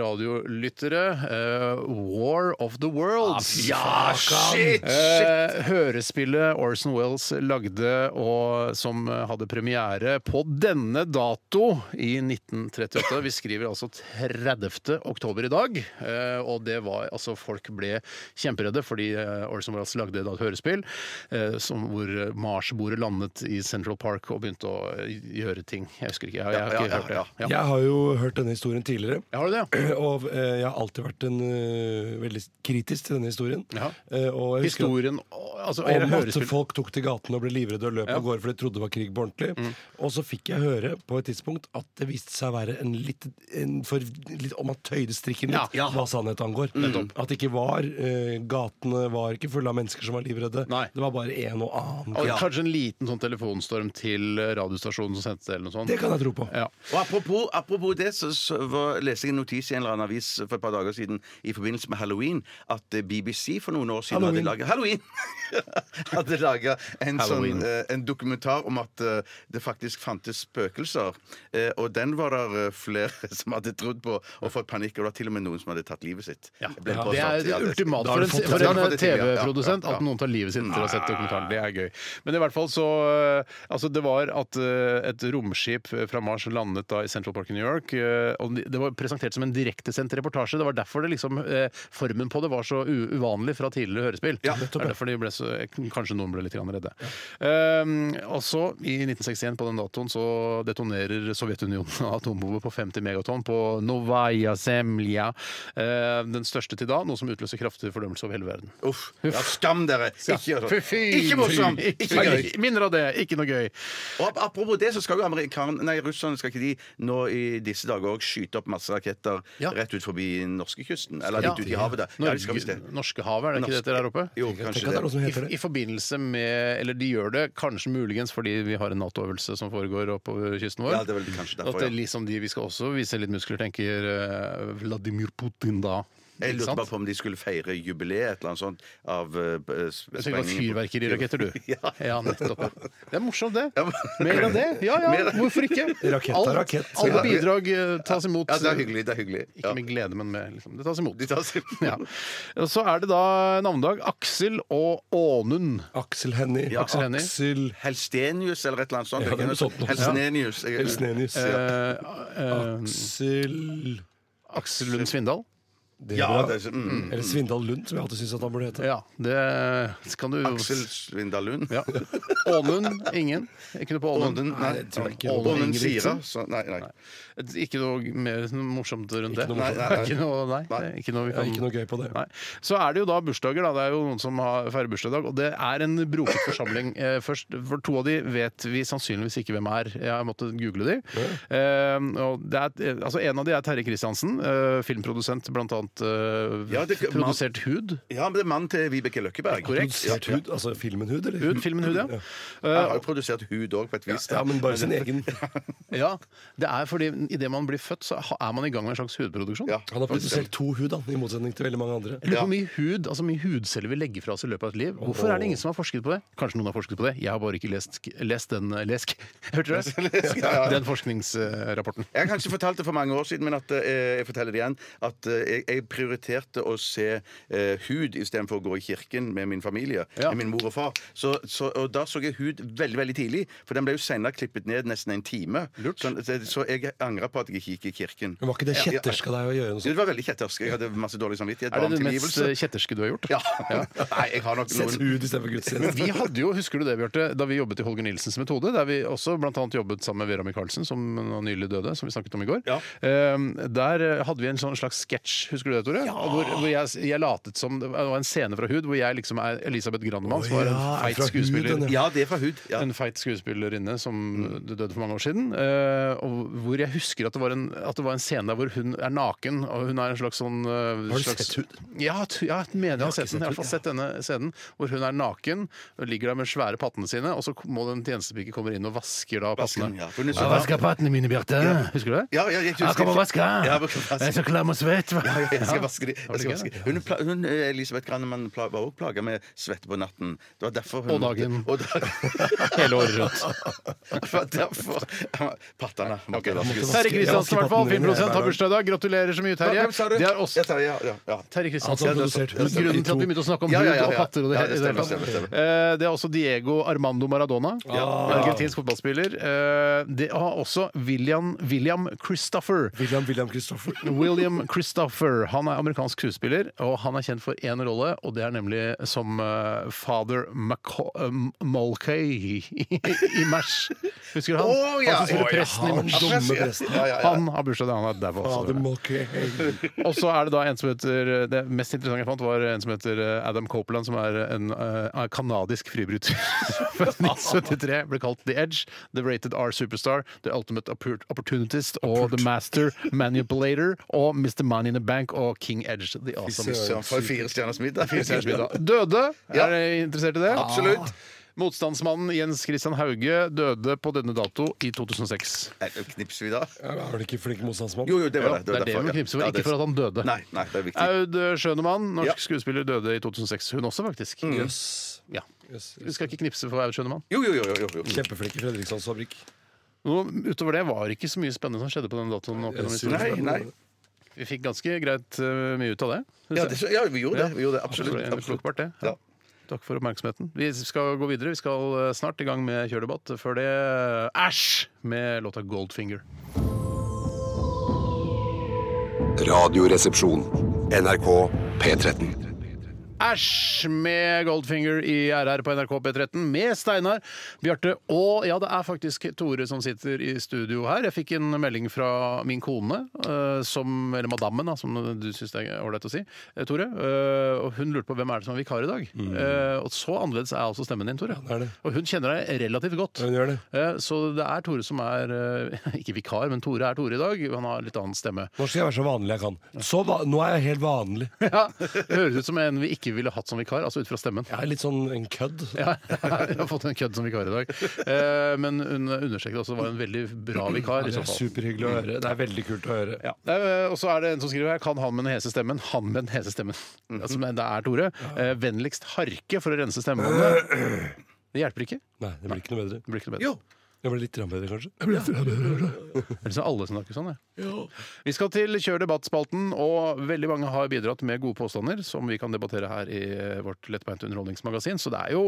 radiolyttere eh, War of the Worlds. Ja, shit! Eh, hørespillet Orson Wells lagde, og som eh, hadde premiere på denne dato i 1938. Vi skriver altså 30. oktober i dag. Eh, og det var altså Folk ble kjemperedde fordi eh, Orson Wells lagde da et hørespill eh, som, hvor eh, Mars-bordet landet i Central Park og begynte å eh, gjøre ting. Jeg husker ikke, jeg, jeg har ikke Ja, ja, ja, hørt det. Ja. Jeg har jo hørt denne historien tidligere. Ja, Har du det? ja? Og eh, jeg har alltid vært en, eh, veldig kritisk til denne historien. Ja. Eh, og jeg husker at- Historien altså, eller om at hørespill- folk tok til gatene og ble livredde og løp av gårde fordi de trodde det var krig på ordentlig. Mm. Og så fikk jeg høre på et tidspunkt at det viste seg å være en litt, en for, litt Om man tøyde strikken litt, Ja. Mm. hva sannhet angår. At det ikke var eh, Gatene var ikke fulle av mennesker som var livredde. Nei. Det var bare en og annen. Og Kanskje en liten sånn telefonstorm til eh, radiostasjonen som sendte det, eller noe sånt. Det kan jeg tro på. Ja. Og apropos, apropos det, så, så var, leste jeg en notis i en eller annen avis for et par dager siden i forbindelse med halloween at eh, BBC for noen år siden Halloween. hadde laget Halloween! hadde laga en, Halloween. sånn, eh, en dokumentar om at eh, det faktisk fantes spøkelser. Eh, og den var det flere som hadde trodd på og fått panikk. Og det var til og med noen som hadde tatt livet sitt. Ja, Ble det påstått. er det Ja, ultimate Da har for du en, fått det. for Da har en du fått det til, ja. Ja, ja, TV-produsent ja. at noen tar livet sitt til å sette dokumentaren. Det er gøy. Men i hvert fall så eh, Altså, det var at eh, et romskip fra Mars landet da i Central Park i New York. eh, Og det var presentert som en direktesendt reportasje. Det var derfor det liksom eh, Formen på det var så u uvanlig fra tidligere hørespill. Ja, det er derfor de ble så eh, Kanskje noen ble litt grann redde. Um, og så, i 1961, på den datoen, så detonerer Sovjetunionen atombomber på 50 megatonn på Novaja Semlja. Eh, den største til da, noe som utløser kraftig fordømmelse over hele verden. Uff. Ja, skam dere! Ikke gjør Fy, sånn. fy, Ikke morsom! fy. Ikke gøy! Mindre av det! Ikke noe gøy. Og ap- apropos det, så skal jo amerikan... Nei, russerne skal ikke de nå i disse dager òg skyte opp masse raketter Ja. rett ut forbi norskekysten? Eller Ja. litt ut i havet, da. Ja, de skal visst Norge, det. Norskehavet, er det ikke det Norske- dere er oppe? Jo, Tenk kanskje at det er noe det. som I, heter I det. forbindelse med Eller de gjør det kanskje muligens fordi vi har en Nato-øvelse som foregår oppover kysten vår. Ja, det er vel kanskje derfor, At det ja. liksom de vi skal også vise litt muskler, tenker eh, Vladimir Putin da. Jeg Ikke lurte sant? bare på om de skulle feire jubileet et eller annet sånt av uh, Jeg tenker på fyrverkeriraketter, du. Ja. nettopp. ja. Det er morsomt, det. Ja, men- Mer av det. Ja ja, Mer av- hvorfor ikke? Rakett er All- rakett. Alle bidrag eh, tas imot. Ja, det er hyggelig. det er hyggelig Ikke med glede, men med liksom, Det tas imot. De tar sin- Ja. Og Så er det da navnedag. Aksel og Ånund. Aksel Hennie. Ja, Aksel Hennie. Aksel Helstenius eller et eller annet sånt. Ja, det er noe sånt noe. Helsenenius. Jeg- Elsnenius. Eh, eh, Aksel Aksel Lund Svindal. det er Ja, bra. det er, mm, Eller Svindal Lund, som jeg alltid syns han burde hete. Ja, det kan du Aksel Svindalund. ja. Ånund? Ingen? Ikke noe på Ånund? Ånden nei. det tror jeg ikke. Ånden Ånden Ingebrigtsen. Sira. så- Nei, nei. Ikke noe mer morsomt rundt det? Ikke noe Nei, morsomt. nei, nei. Ikke noe, nei, det er ikke noe vi Ja, kan ikke noe gøy på det. Nei. Så er det jo da bursdager, da. Det er jo noen som har- feirer bursdag i dag. Og det er en broket forsamling. Eh, Først, for to av de vet vi sannsynligvis ikke hvem er. Jeg har måttet google de. Eh, og det er, eh, altså en av de er Terje Kristiansen, eh, filmprodusent blant annet eh, Ja, det- produsert Hud. Ja, men det er mannen til Vibeke Løkkeberg. Korrekt. Produsert hud, altså filmen Hud, eller? Hud, filmen Hud, ja. Han har jo produsert hud òg, på et vis. da. Ja, men bare sin egen. Ja, det er fordi idet man blir født, så ha- er man i gang med en slags hudproduksjon. Ja. Han har produsert to hud, han, i motsetning til veldig mange andre. Jeg lurer på hvor mye hud, altså hvor mye hudceller vi legger fra oss i løpet av et liv. Hvorfor er det ingen som har forsket på det? Kanskje noen har forsket på det. Jeg har bare ikke lest, lest den eh, lesk. Hørte du det? Den forskningsrapporten. Jeg har kanskje fortalt det for mange år siden, men at, eh, jeg forteller det igjen. At eh, jeg, jeg prioriterte å se eh, hud istedenfor å gå i kirken med min familie. Ja. Med min mor og far. Så, så, og da så jeg hud veldig veldig tidlig, for den ble jo senere klippet ned nesten en time. Sånn, så, så jeg angrer på at jeg ikke gikk i kirken. Men var ikke det Ja, ja. kjettersk av deg å gjøre noe Jo, sånt? Det var veldig kjettersk. Jeg hadde masse dårlig samvittighet. Er det barn det mest tilgivelse. eh, kjetterske du har gjort? Ja. Nei, jeg har nok Sett noen hud istedenfor Men gudstjeneste. Vi hadde jo, husker du det, Bjarte, da vi jobbet i Holger Nilsens metode, der vi også blant annet jobbet sammen med Vera Michaelsen, som nå nylig døde, som vi snakket om i går. Ja. Eh, Der eh, hadde vi en sånn slags sketsj, husker du det, Tore? Hvor, hvor jeg, jeg latet som Det var en scene fra Hud hvor jeg liksom er Elisabeth Grandemann, som var en ja, feit fra Hud, skuespiller. den, Ja, det er fra hud. Ja. Mm. En feit skuespillerinne som døde for mange år siden. eh, og hvor jeg husker at det, var en, at det var en scene der hvor hun er naken. Og hun er en slags sånn eh, Har du slags, sett Hud? Ja, t- ja, jeg mener jeg har sett den. Jeg har i hvert fall Hud, ja. sett denne scenen hvor hun er naken, og ligger der med svære pattene sine, og så må den tjenestepike kommer inn og vasker da Vasken, pattene. ja. For hun er så- Ja, vasker pattene mine, Bjarte. Husker du det? Ja, ja, jeg husker- Jeg kommer og vasker. Ja, jeg skal vaske. Jeg er så klam og svett. Jeg skal vaske de. Jeg skal gøy, vaske. Hun, pla- hun, eh, Elisabeth Grannemann pla- var også plaga med svette på natten. Det var derfor hun Og dagen. Og da, Hele året rundt. det var derfor Pattene måtte vaskes. Terje Kristiansen, i hvert fall. Jeg vasker Filmprodusent har pattene mine bursdag i dag. Gratulerer så mye, Terje. Hvem sa du? Det er oss. Ja, Terje, ja, ja, ja. Terje Altså, Kristiansen. han har produsert Men hud Grunnen til at vi i to begynte å snakke om Ja, hud ja, ja, og ja. patter og det, Ja, hele- i det det hele stemmer, tatt. stemmer, Eh, Det er også Diego Armando Maradona. Argentinsk fotballspiller. Eh, Det har også William, William Christopher. William William Christopher. William Christopher. Han er amerikansk skuespiller, og han er kjent for én rolle, og det er nemlig som eh, father Maca- eh, Mulcahy i Mash. Husker du han? Å, ja. Han som spiller Å, ja, presten i han Mash. dumme presten. Ja, ja, ja. Han har bursdag, han er dau også. Fader Mulcahy. Og så er det da en som heter Det mest interessante jeg fant, var en som heter eh, Adam Copeland, som er en eh, kanadisk fribryter. Født i 1973. Ble kalt The Edge, The Rated R Superstar, The Ultimate Oppor- Opportunitist og The Master Manipulator og Mr. Money in the Bank og King Edge. The Awesome. Søren, for fire stjerners middag. Døde. Ja. Er dere interessert i det? Absolutt. Motstandsmannen Jens Christian Hauge døde på denne dato i 2006. Nei, Knipser vi da? Ja, Er han ikke flink motstandsmann? Jo, jo, det var det. Det er det derfor, vi ja. knipser for, Ja, det- ikke for at han døde. Nei, nei, det er viktig. Aud Schønemann, norsk Ja. Mm. skuespiller, døde i 2006. Hun også, faktisk. Mm. Jøss. Ja. Jøss, Vi skal ikke knipse for Aud Schønemann. Jo, jo, jo. jo, jo. Kjempeflink i Fredriksands fabrikk. Noe utover det var det ikke så mye spennende som skjedde på den datoen. opp gjennom historien. Nei, nei. Vi fikk ganske greit eh, mye ut av det. synes Ja, jeg. det, ja, vi gjorde det. Vi gjorde det. Absolutt. Det ble absolutt. Fruktbart, det. Ja. Ja. Takk for oppmerksomheten. Vi skal gå videre. Vi skal eh, snart i gang med kjørdebatt. Før det Æsj! med låta 'Goldfinger'. Radioresepsjon. NRK P13. Æsj med Goldfinger i RR på NRK P13 med Steinar, Bjarte og ja, det er faktisk Tore som sitter i studio her. Jeg fikk en melding fra min kone, eh, som, eller madammen, da, som du syns det er ålreit å si, eh, Tore. eh, og hun lurte på hvem er det som er vikar i dag. Eh, og så annerledes er altså stemmen din, Tore. Mm. det er det. Og hun kjenner deg relativt godt. Ja, hun gjør det. Eh, så det er Tore som er eh, Ikke vikar, men Tore er Tore i dag. Han har litt annen stemme. Nå skal jeg være så vanlig jeg kan. Så va Nå er jeg helt vanlig. Ja, det høres ut som en vi ikke ville hatt som vikar, altså ut fra stemmen. Jeg er litt sånn en kødd. Ja, jeg har fått en kødd som vikar i dag. Eh, Men hun understreket også at det var en veldig bra vikar. i Det så er fall. superhyggelig å høre. Det er veldig kult å høre. sånn Ja. Eh, Og så er det en som skriver her Kan han med den hese stemmen? Han med den hese stemmen. Mhm. Altså, men det er Tore. Eh, Vennligst harke for å rense stemmebåndene. Det hjelper ikke. Nei, det blir ikke noe bedre. Det blir ikke noe bedre. Jo. Det blir litt grann bedre, kanskje. Det er liksom alle som snakker sånn, jeg. Vi skal til Kjør debatt-spalten, og veldig mange har bidratt med gode påstander som vi kan debattere her i vårt lettbeinte underholdningsmagasin, så det er jo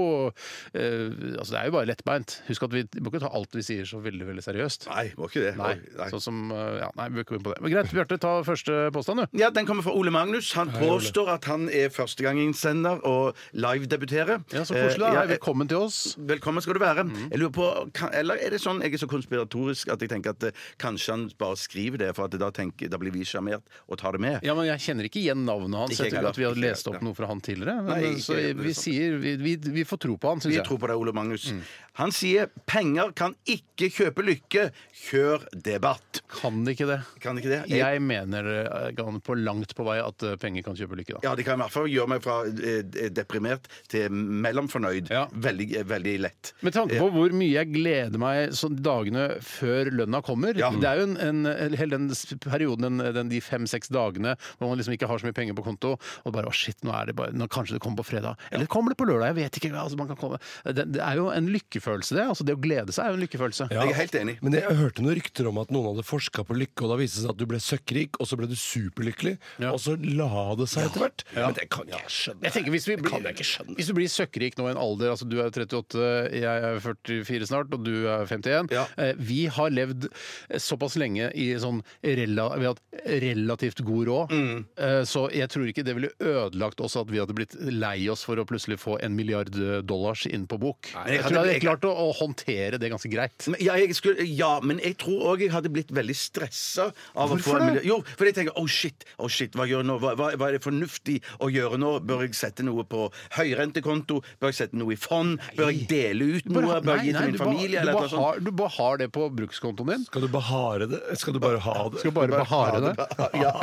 eh, Altså, det er jo bare lettbeint. Husk at vi må ikke ta alt vi sier så veldig, veldig seriøst. Nei, må ikke det. Nei. Sånn som eh, Ja, nei, vi bør ikke gå inn på det. Men greit, Bjarte, ta første påstand, du. Ja, Den kommer fra Ole Magnus. Han påstår at han er førstegangsinnsender og livedebuterer. Ja, så koselig. Eh, da. ja, eh, Velkommen Mm. til oss. Velkommen skal du være. Jeg lurer på, kan, eller er det sånn, jeg er så konspiratorisk at jeg tenker at eh, kanskje han bare skriver det, for at da, tenker, da blir vi sjarmert og tar det med. Ja, men Jeg kjenner ikke igjen navnet hans. Ikke Jeg tror ikke heller. at vi har Ikke lest heller. opp noe fra han tidligere. Men, eh, Nei, ikke så heller, vi, sant. sier, vi, vi, altså. vi får tro på han, syns Vi jeg. tror på deg, Ole Magnus. Mm. Han sier 'penger kan ikke kjøpe lykke'. Kjør debatt. Kan ikke det. Kan ikke det? Jeg- Jeg mener eh, gan- på langt på vei at eh, penger kan kjøpe lykke, da. Ja, Det kan i hvert fall gjøre meg fra eh, deprimert til mellomfornøyd. Ja. Veldig, eh, veldig lett. Med tanke på hvor mye jeg gleder meg så dagene før lønna kommer Ja. Det er jo en, en, hele den s- perioden, den, den, de fem-seks dagene hvor man liksom ikke har så mye penger på konto, og bare å shit, nå er det bare, nå kanskje det kommer på fredag. Eller kommer det på lørdag? Jeg vet ikke. Altså, man kan komme. Det, det er jo en lykkefølelse, det. Altså, det å glede seg er jo en lykkefølelse. Jeg er helt enig. Men jeg hørte noen rykter om at noen hadde forska på lykke, og da viste det seg at du ble søkkrik, og så ble du superlykkelig, Ja. og så la det seg etter hvert. Men det kan jeg skjønne. Jeg tenker hvis, vi blir, hvis du blir søkkrik nå i en alder altså Du er 38, jeg er 44 snart, og du er 51. Ja. Eh, Vi har levd såpass lenge i sånn rela, Vi har hatt relativt god råd, Mm. Eh, så jeg tror ikke det ville ødelagt oss at vi hadde blitt lei oss for å plutselig få en milliard dollars inn på bok. jeg jeg, hadde- tror jeg hadde jeg- klart å, å håndtere det ganske greit. Men- Ja, jeg skulle, ja, men jeg tror òg jeg hadde blitt veldig stressa av å få Hvorfor en det? million. Jo, fordi jeg tenker oh shit, oh shit, hva gjør jeg nå? Hva, hva, hva er det fornuftig å gjøre nå? Bør jeg sette noe på høyrentekonto? Bør jeg sette noe i fond? Bør jeg dele ut noe? Bør jeg gi til min du, bare, familie? du, Eller bare noe sånt? har, du bare har det på brukskontoen din. Skal du behare det? Skal du bare ha det? Skal bare behare det. Ja.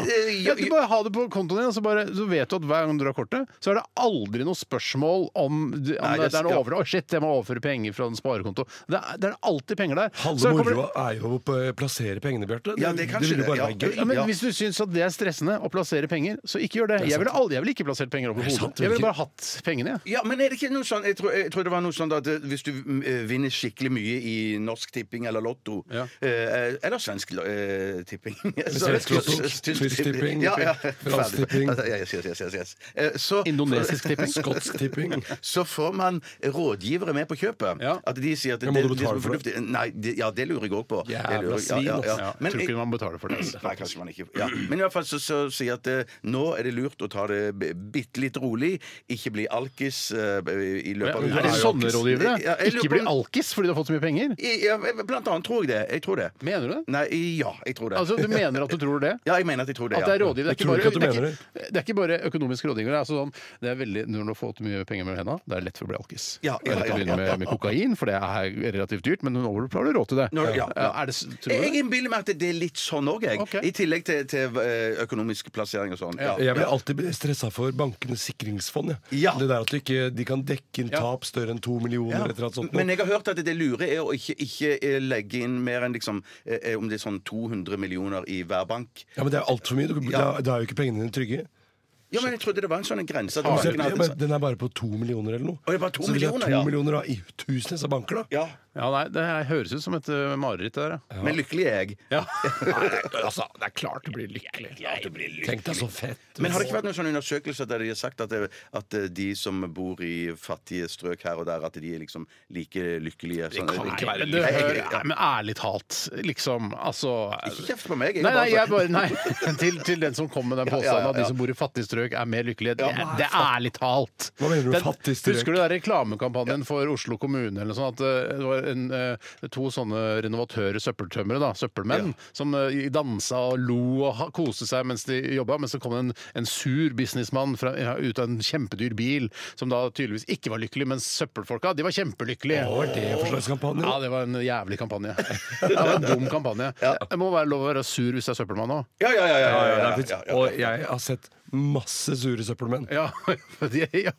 Eh, Ja, jo, du jo. bare ha det på kontoen din, og så, bare, så vet du at hver gang du drar kortet, så er det aldri noe spørsmål om, du- om Nei, det, det er noe skal- over, Å, shit, jeg må overføre penger fra en sparekonto. Det er, det er alltid penger der. Så Halve kommer det- moroa er jo å p- plassere pengene, Bjarte. Ja, det er kanskje ville det, bare ja. være gøy. Ja, men Ja. Hvis du syns at det er stressende å plassere penger, så ikke gjør det. jeg, ville aldri, jeg ville ikke plassert penger Det er sant, overhodet. det Jeg er ville ikke- bare hatt pengene, jeg. Ja, men er det ikke noe sånn Jeg tror, jeg tror det var noe sånn at eh, hvis du mm, eh, vinner skikkelig mye i Norsk Tipping eller Lotto Ja. eh, Eller Svensk lo- eh, Tipping så- Svensk Lotto, Tysk- tysk Tysk Tipping, Ja, ja. Fransk Ferdig. Tipping. Yes, yes, yes, yes, yes. Eh, Så, Indonesisk tipping. Skotsk tipping. så får man rådgivere med på kjøpet. Ja. At de sier at Men må du det- det betale for det? fornuftig- Nei, det, ja, det lurer jeg òg på. Det Jævla lurer jeg- ja, svin, ja, ja. altså. Ja, Men tror jeg- ikke man betaler for det. altså. Nei, kanskje man ikke ja. Men i hvert fall så, så sier at eh, nå er det lurt å ta det b- bitte litt rolig. Ikke bli alkis eh, i løpet av Men Er det sånne rådgivere? Ja, jeg lurer Ikke på- bli alkis fordi du har fått så mye penger? I- Ja, blant annet tror jeg det. Jeg tror det. Mener du det? Nei, ja, jeg tror det. Altså, Du mener at du tror det? ja, jeg mener at jeg tror det. At det er ja. rådgiver. Det er Jeg ikke tror bare, ikke at du det er mener ikke, det er ikke bare økonomisk rådgiver. Det er, altså sånn, det er veldig, når du har fått mye penger mellom hendene, det er lett for å bli alkis. Ja, Det er lett ja, å ja, begynne ja, ja. med, med kokain, for det er relativt dyrt, men nå har du råd til det. Når- ja, ja. Er det, s- tror du Jeg det? innbiller meg at det er litt sånn òg, jeg. Ok. I tillegg til, til eh, økonomisk plassering og sånn. Ja. Jeg blir alltid stressa for bankenes sikringsfond. jeg. Ja. Det der at du ikke, de kan dekke inn Ja. tap større enn to millioner. Ja. Eller et eller annet sånt. Men jeg har hørt at det lure er å ikke, ikke eh, legge inn mer enn liksom, eh, eh, om det er sånn 200 millioner i hver bank. Ja, men det er altfor mye. Du, da, da er jo ikke pengene dine trygge. Ja, men jeg trodde det var en sånn en grense. At Du banken ser- hadde- men Den er bare på to millioner eller noe. Å, det er bare to så hvis det er millioner, to ja. millioner da, i tusenvis av banker, da, Ja. Ja, nei, Det her høres ut som et eh, mareritt. det der, ja. Men lykkelig er jeg. Ja. Altså, det er klart du blir lykkelig. Tenk deg så fett. Men har det ikke vært noen sånne undersøkelser der de har sagt at, det, at eh, de som bor i fattige strøk her og der, at de er liksom like lykkelige? Sånn, kan ikke være Men, det, hører- Ikke- nei, men ærlig talt, liksom Altså Ikke kjeft på meg. Nei, nei, jeg bare sånn. bare, nei. Til, til den som kom med den påstanden Ja, ja, ja, at de ja. som bor i fattige strøk er mer lykkelige. Det, er- det er ærlig talt. Hva mener du med Den- fattig strøk? Husker du den reklamekampanjen for Oslo kommune eller noe sånt? At eh, det var en, eh, to sånne renovatører, søppeltømmere, da, søppelmenn, som eh, dansa og lo og ha- koste seg mens de jobba, men så kom en, en sur businessmann fra, ja, ut av en kjempedyr bil, som da tydeligvis ikke var lykkelig, mens søppelfolka, de var kjempelykkelige. Hva var det for slags kampanje? Ja, det var en jævlig kampanje. Det var en dum kampanje. Det må være lov å være sur hvis det er søppelmann òg. Ja, ja, ja. ja, Ja, ja, ja, det ja, fins. Og jeg har sett masse sure søppelmenn. Ja, for de, ja,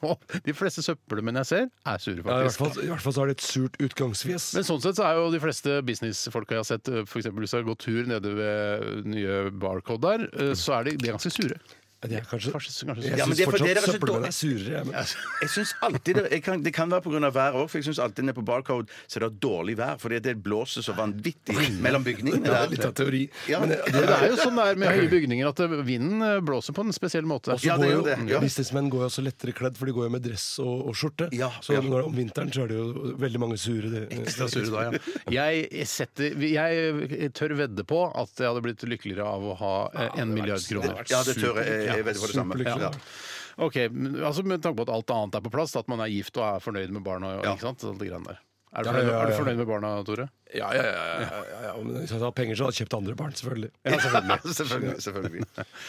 de fleste søppelmenn jeg ser, er sure, Ja, i, hvert faktisk. fall, I hvert fall så har de et surt utgangsfjes. Men sånn sett så er jo de fleste businessfolka jeg har sett, f.eks. hvis jeg har gått tur nede ved nye Barcode der, eh, så er de, de er ganske sure. de er kanskje- kanskje, kanskje sure. Jeg Ja, men syns det er fordi fortsatt dere er så søppelmenn dårlig- er surere. jeg, Men. Jeg synes alltid Det, jeg kan, det kan være pga. været òg, for jeg syns alltid nede på Barcode så er det dårlig vær. Fordi det blåser så vanvittig mellom bygningene. Det der. er litt av teori. Ja. Men eh, Ja, Det er jo sånn det er med høye bygninger, at eh, vinden eh, blåser på en spesiell måte. Ja, Så det går gjør jo, det, ja. Businessmenn går jo også lettere kledd, for de går jo med dress og, og skjorte. Ja, så ja. når, om vinteren så er det jo veldig mange sure. Det, Ekstra sure da, ja. Jeg, setter, jeg tør vedde på at jeg hadde blitt lykkeligere av å ha eh, en milliard kroner. Ja, det tør jeg. Jeg er veldig for det samme. Superlykkelig. Ja. Ok, men, altså Med tanke på at alt annet er på plass, at man er gift og er fornøyd med barna. og- Ikke sant? Alt det greiene der. Er du, Ja, fornøyd, ja, ja, er du ja. fornøyd med barna, Tore? Ja, ja, ja, ja, ja, ja. Men Hvis jeg hadde hatt penger, så hadde jeg kjøpt andre barn, selvfølgelig. selvfølgelig. selvfølgelig.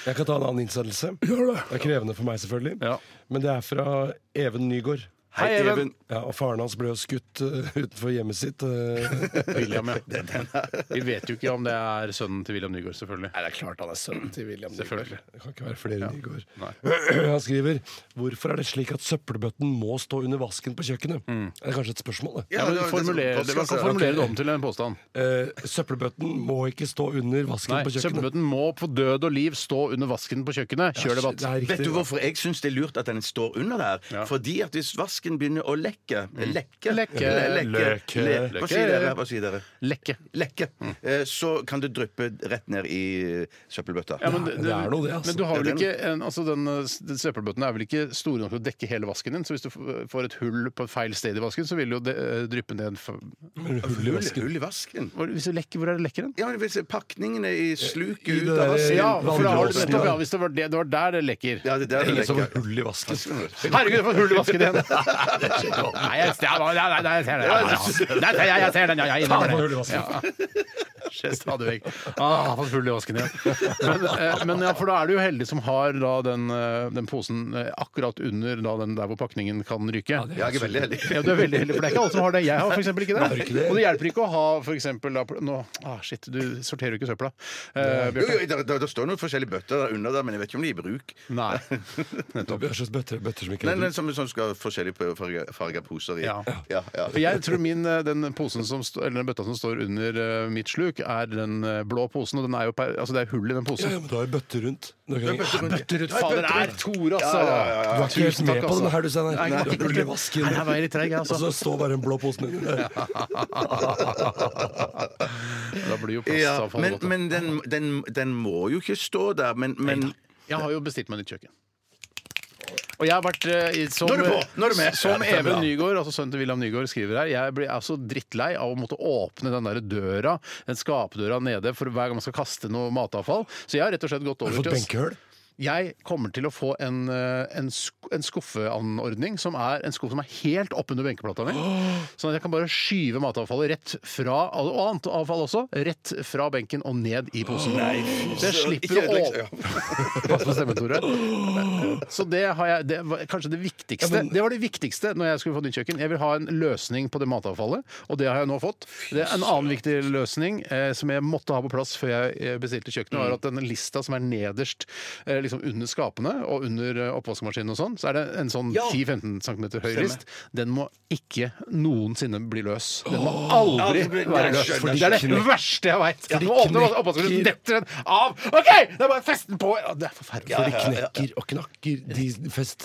Jeg kan ta en annen innsendelse. Det er krevende for meg, selvfølgelig. Ja. Men det er fra Even Nygaard. Hei, Even. Ja, og faren hans ble jo skutt eh, utenfor hjemmet sitt. eh. William, ja. Vi vet jo ikke om det er sønnen til William Nygaard, selvfølgelig. Nei, det er klart han er sønnen til William Selvfølgelig. Nygaard. Det kan ikke være flere Nygaard. Han skriver Hvorfor er det slik at søppelbøtten må stå under vasken på kjøkkenet? Det er kanskje et spørsmål, det. Mm. Ja, men det var- formuler, det det var- man kan formulere det om til en påstand. Eh, søppelbøtten må ikke stå under vasken Nei, på kjøkkenet. Søppelbøtten må på død og liv stå under vasken på kjøkkenet. Kjør debatt. Det er riktig. Vet du hvorfor jeg syns det er lurt at den står under der? Fordi at hvis vasken begynner å lekke eh, Lekke. eh, Lekke. Lekke. Løke. Le- Hva sier dere? Hva sier dere? Lekke. Lekke. Eh, Så kan det dryppe rett ned i eh, søppelbøtta. Ja, men, det er noe det, altså. men du har Ja, vel det er ikke en, altså den, eh, s- den søppelbøtten er vel ikke store nok til å dekke hele vasken din, så hvis du f- får et hull på feil sted i vasken, så vil jo det eh, dryppe ned en f- Hull i Hull, vasken. hull i vasken. Hvor- Hvis du lekker, hvor er det lekker den? Ja, men hvis Pakningene i sluket I det ut av der- vasken. Ja, for da har du Vannlåsen, nettopp, ja. ja, hvis det var, det, det var der det lekker. Ja, det er der det Ingen som har lekker. hull i vasken. Herregud, for et hull i vasken igjen! Nei, jeg, jeg, nei, nei, nei, jeg ser den. Ja, ja, ja. Nei, jeg, jeg ser den, ja, jeg Faen, for innrømmer hull i det. vasken. Skjer stadig vekk. Ah, fått hull i vasken igjen. Men, eh, men ja, for da er du jo heldig som har da den, eh, den posen eh, akkurat under da den der hvor pakningen kan ryke. Ja, jeg er veldig heldig. Ja, du er veldig heldig, for det er ikke alle som har det. Jeg har f.eks. ikke det. ikke det. Og det hjelper ikke å ha f.eks. da pl- Nå, ah, shit, du sorterer jo ikke søpla. Eh, Jo, Bjarte. jo, der, der, der står noen forskjellige bøtter der under der, men jeg vet ikke om de er i bruk. Mhm. Nei. Det er slags bøtter, bøtter som ikke Nei, er nei, som, som skal ha forskjellige farga poser i. Ja. Ja, ja. For jeg tror min, eh, den, posen som, sto- eller den bøtta som står under eh, mitt sluk, er den eh, blå posen. Og den er jo, per- altså det er hull i den Ja, posen. ja, men du har jo bøtter rundt. Du kan ikke- Bøtter rundt. Bøtterud, fader, det er Tore, altså! Du er ikke helt Tusen med takk, på den altså. her, du, Steinar. Nei, jeg var ikke Du har hull i helt- vasken. Nei, jeg var litt treg, jeg, altså. Og så står bare en blå pose nedi der. Da blir jo Ja, plastavfall men godt. men den, den, den må jo ikke stå der, men, men Jeg har jo bestilt meg nytt kjøkken. Og jeg har vært eh, i- som, Nå er du på! Nå er du med! som Ja, det er Even bra. Nygaard, altså sønnen til William Nygaard, skriver her. Jeg blir altså drittlei av å måtte åpne den der døra, den skapdøra nede, for hver gang man skal kaste noe matavfall. Så jeg har rett og slett gått Har du over fått til å- benkehull? Jeg kommer til å få en, eh, en, sk en skuffeanordning som er en skuff som er helt oppunder benkeplata mi. Sånn at jeg kan bare skyve matavfallet rett fra og annet avfall også, rett fra benken og ned i posen. Så jeg slipper å ødelegg- ja. Pass på stemmen, Tore. Så det, har jeg, det var kanskje det viktigste. Ja, men- det var det viktigste når jeg skulle få nytt kjøkken. Jeg vil ha en løsning på det matavfallet, og det har jeg nå fått. Det er En annen viktig løsning eh, som jeg måtte ha på plass før jeg eh, bestilte kjøkkenet, var at den lista som er nederst, eh, liksom under skapene og under eh, oppvaskmaskinen og sånn, så er det en sånn Ja. 10-15 cm høy list. Den må ikke noensinne bli løs. Den må aldri Aldri. være løs. Skjønner, Fordi det er det skjønner. verste jeg veit. Du må åpne knekker- oppvaskmaskinen, så detter den av. OK! Det er bare festen på! Ja, Det er forferdelig. For de knekker og knakker de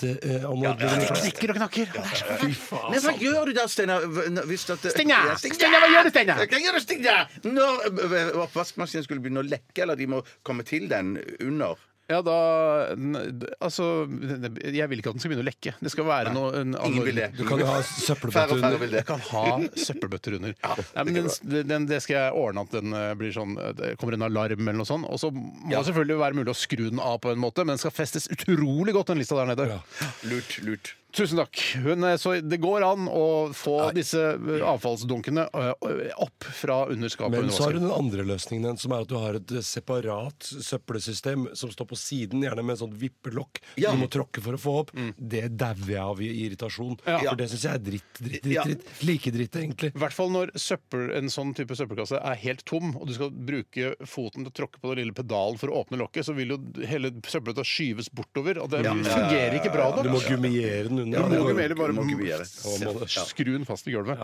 eh, Det festeanordningene. knekker og knakker. Det er så forferdelig. Men hva gjør du da, Steinar? Hv- Hvis at Steinar! Ja, Steinar, hva gjør du, Steinar? Hva gjør du, Steinar? Når ø, ø, oppvaskmaskinen skulle begynne å lekke, eller de må komme til den under Ja, da n- d- Altså, jeg vil ikke at den skal begynne å lekke. Det skal være noe en, Ingen vil det. Du kan jo ha Færre søppelbøtte og færre under. vil det. Jeg kan ha søppelbøtter under. Nei, men det den, den, det skal jeg ordne at den eh, blir sånn eh, Det kommer en alarm eller noe sånt. Og så må det selvfølgelig være mulig å skru den av på en måte, men den skal festes utrolig godt, den lista der nede. Lurt, lurt. Tusen takk. Hun, eh, så det går an å få disse eh, avfallsdunkene eh, opp fra under skapet. Men under så har du vasken. den andre løsningen, den, som er at du har et eh, separat søppelsystem som står på siden, gjerne med en sånn vippelokk Ja. du må tråkke for å få opp. Det dauer jeg av i irritasjon. For det syns jeg er dritt, dritt, dritt. Ja. dritt. Like dritt, egentlig. I hvert fall når søppel, en sånn type søppelkasse er helt tom, og du skal bruke foten til å tråkke på den lille pedalen for å åpne lokket, så vil jo hele søppelbøtta skyves bortover, og det fungerer ikke bra nok. Du må gummiere den under. Du må ikke mer Du må ikke bare gjøre det. skru den fast i gulvet.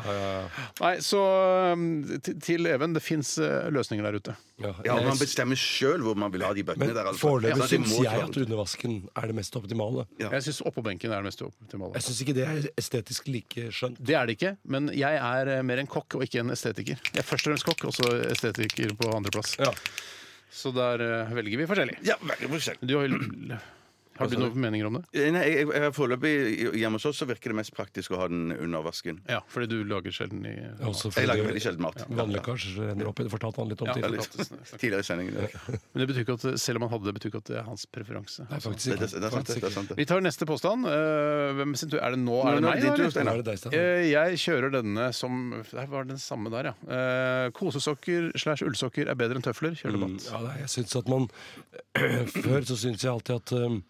Nei, så um, til- til Even, det fins løsninger der ute. Ja, Ja, jeg- man bestemmer sjøl hvor man vil ha de bøttene men der. altså. foreløpig Ja, de syns må jeg ikke at undervasken er det mest optimale. Ja. Jeg syns oppå benken er det mest optimale. Jeg syns ikke det er estetisk like skjønt. Det er det ikke, men jeg er eh, mer en kokk og ikke en estetiker. Jeg er først og fremst kokk, og så estetiker på andreplass. Ja. Så der eh, velger vi forskjellig. Altså- Ja, veldig forskjellig. Du har, jo- har du noen meninger om det? Eh, Nei, jeg, jeg, foreløpig hjemme hos oss så virker det mest praktisk å ha den under vasken. Ja, fordi du lager sjelden i Også Jeg lager fordi veldig sjelden mat. Vannlekkasjer ender opp i det. Fortalte han litt om Ja, tidligere. Eller, tidligere i sendingen. Men det betyr ikke at selv om han hadde det, betyr ikke at det er hans preferanse. Nei, faktisk Det, ikke. det, det er sant, det. det er sant, det. Vi tar neste påstand. Eh, hvem sin tur? Er det nå? Er det Nå- nå meg? er det din eller? tur, Steinar. Nå er det deg, Steinar. Eh, Jeg kjører denne som Der var den samme der, ja. Eh, kosesokker slash ullsokker er bedre enn tøfler. Kjør debatt. Mm, Ja, nei, jeg synes at man Før så syntes jeg alltid at um,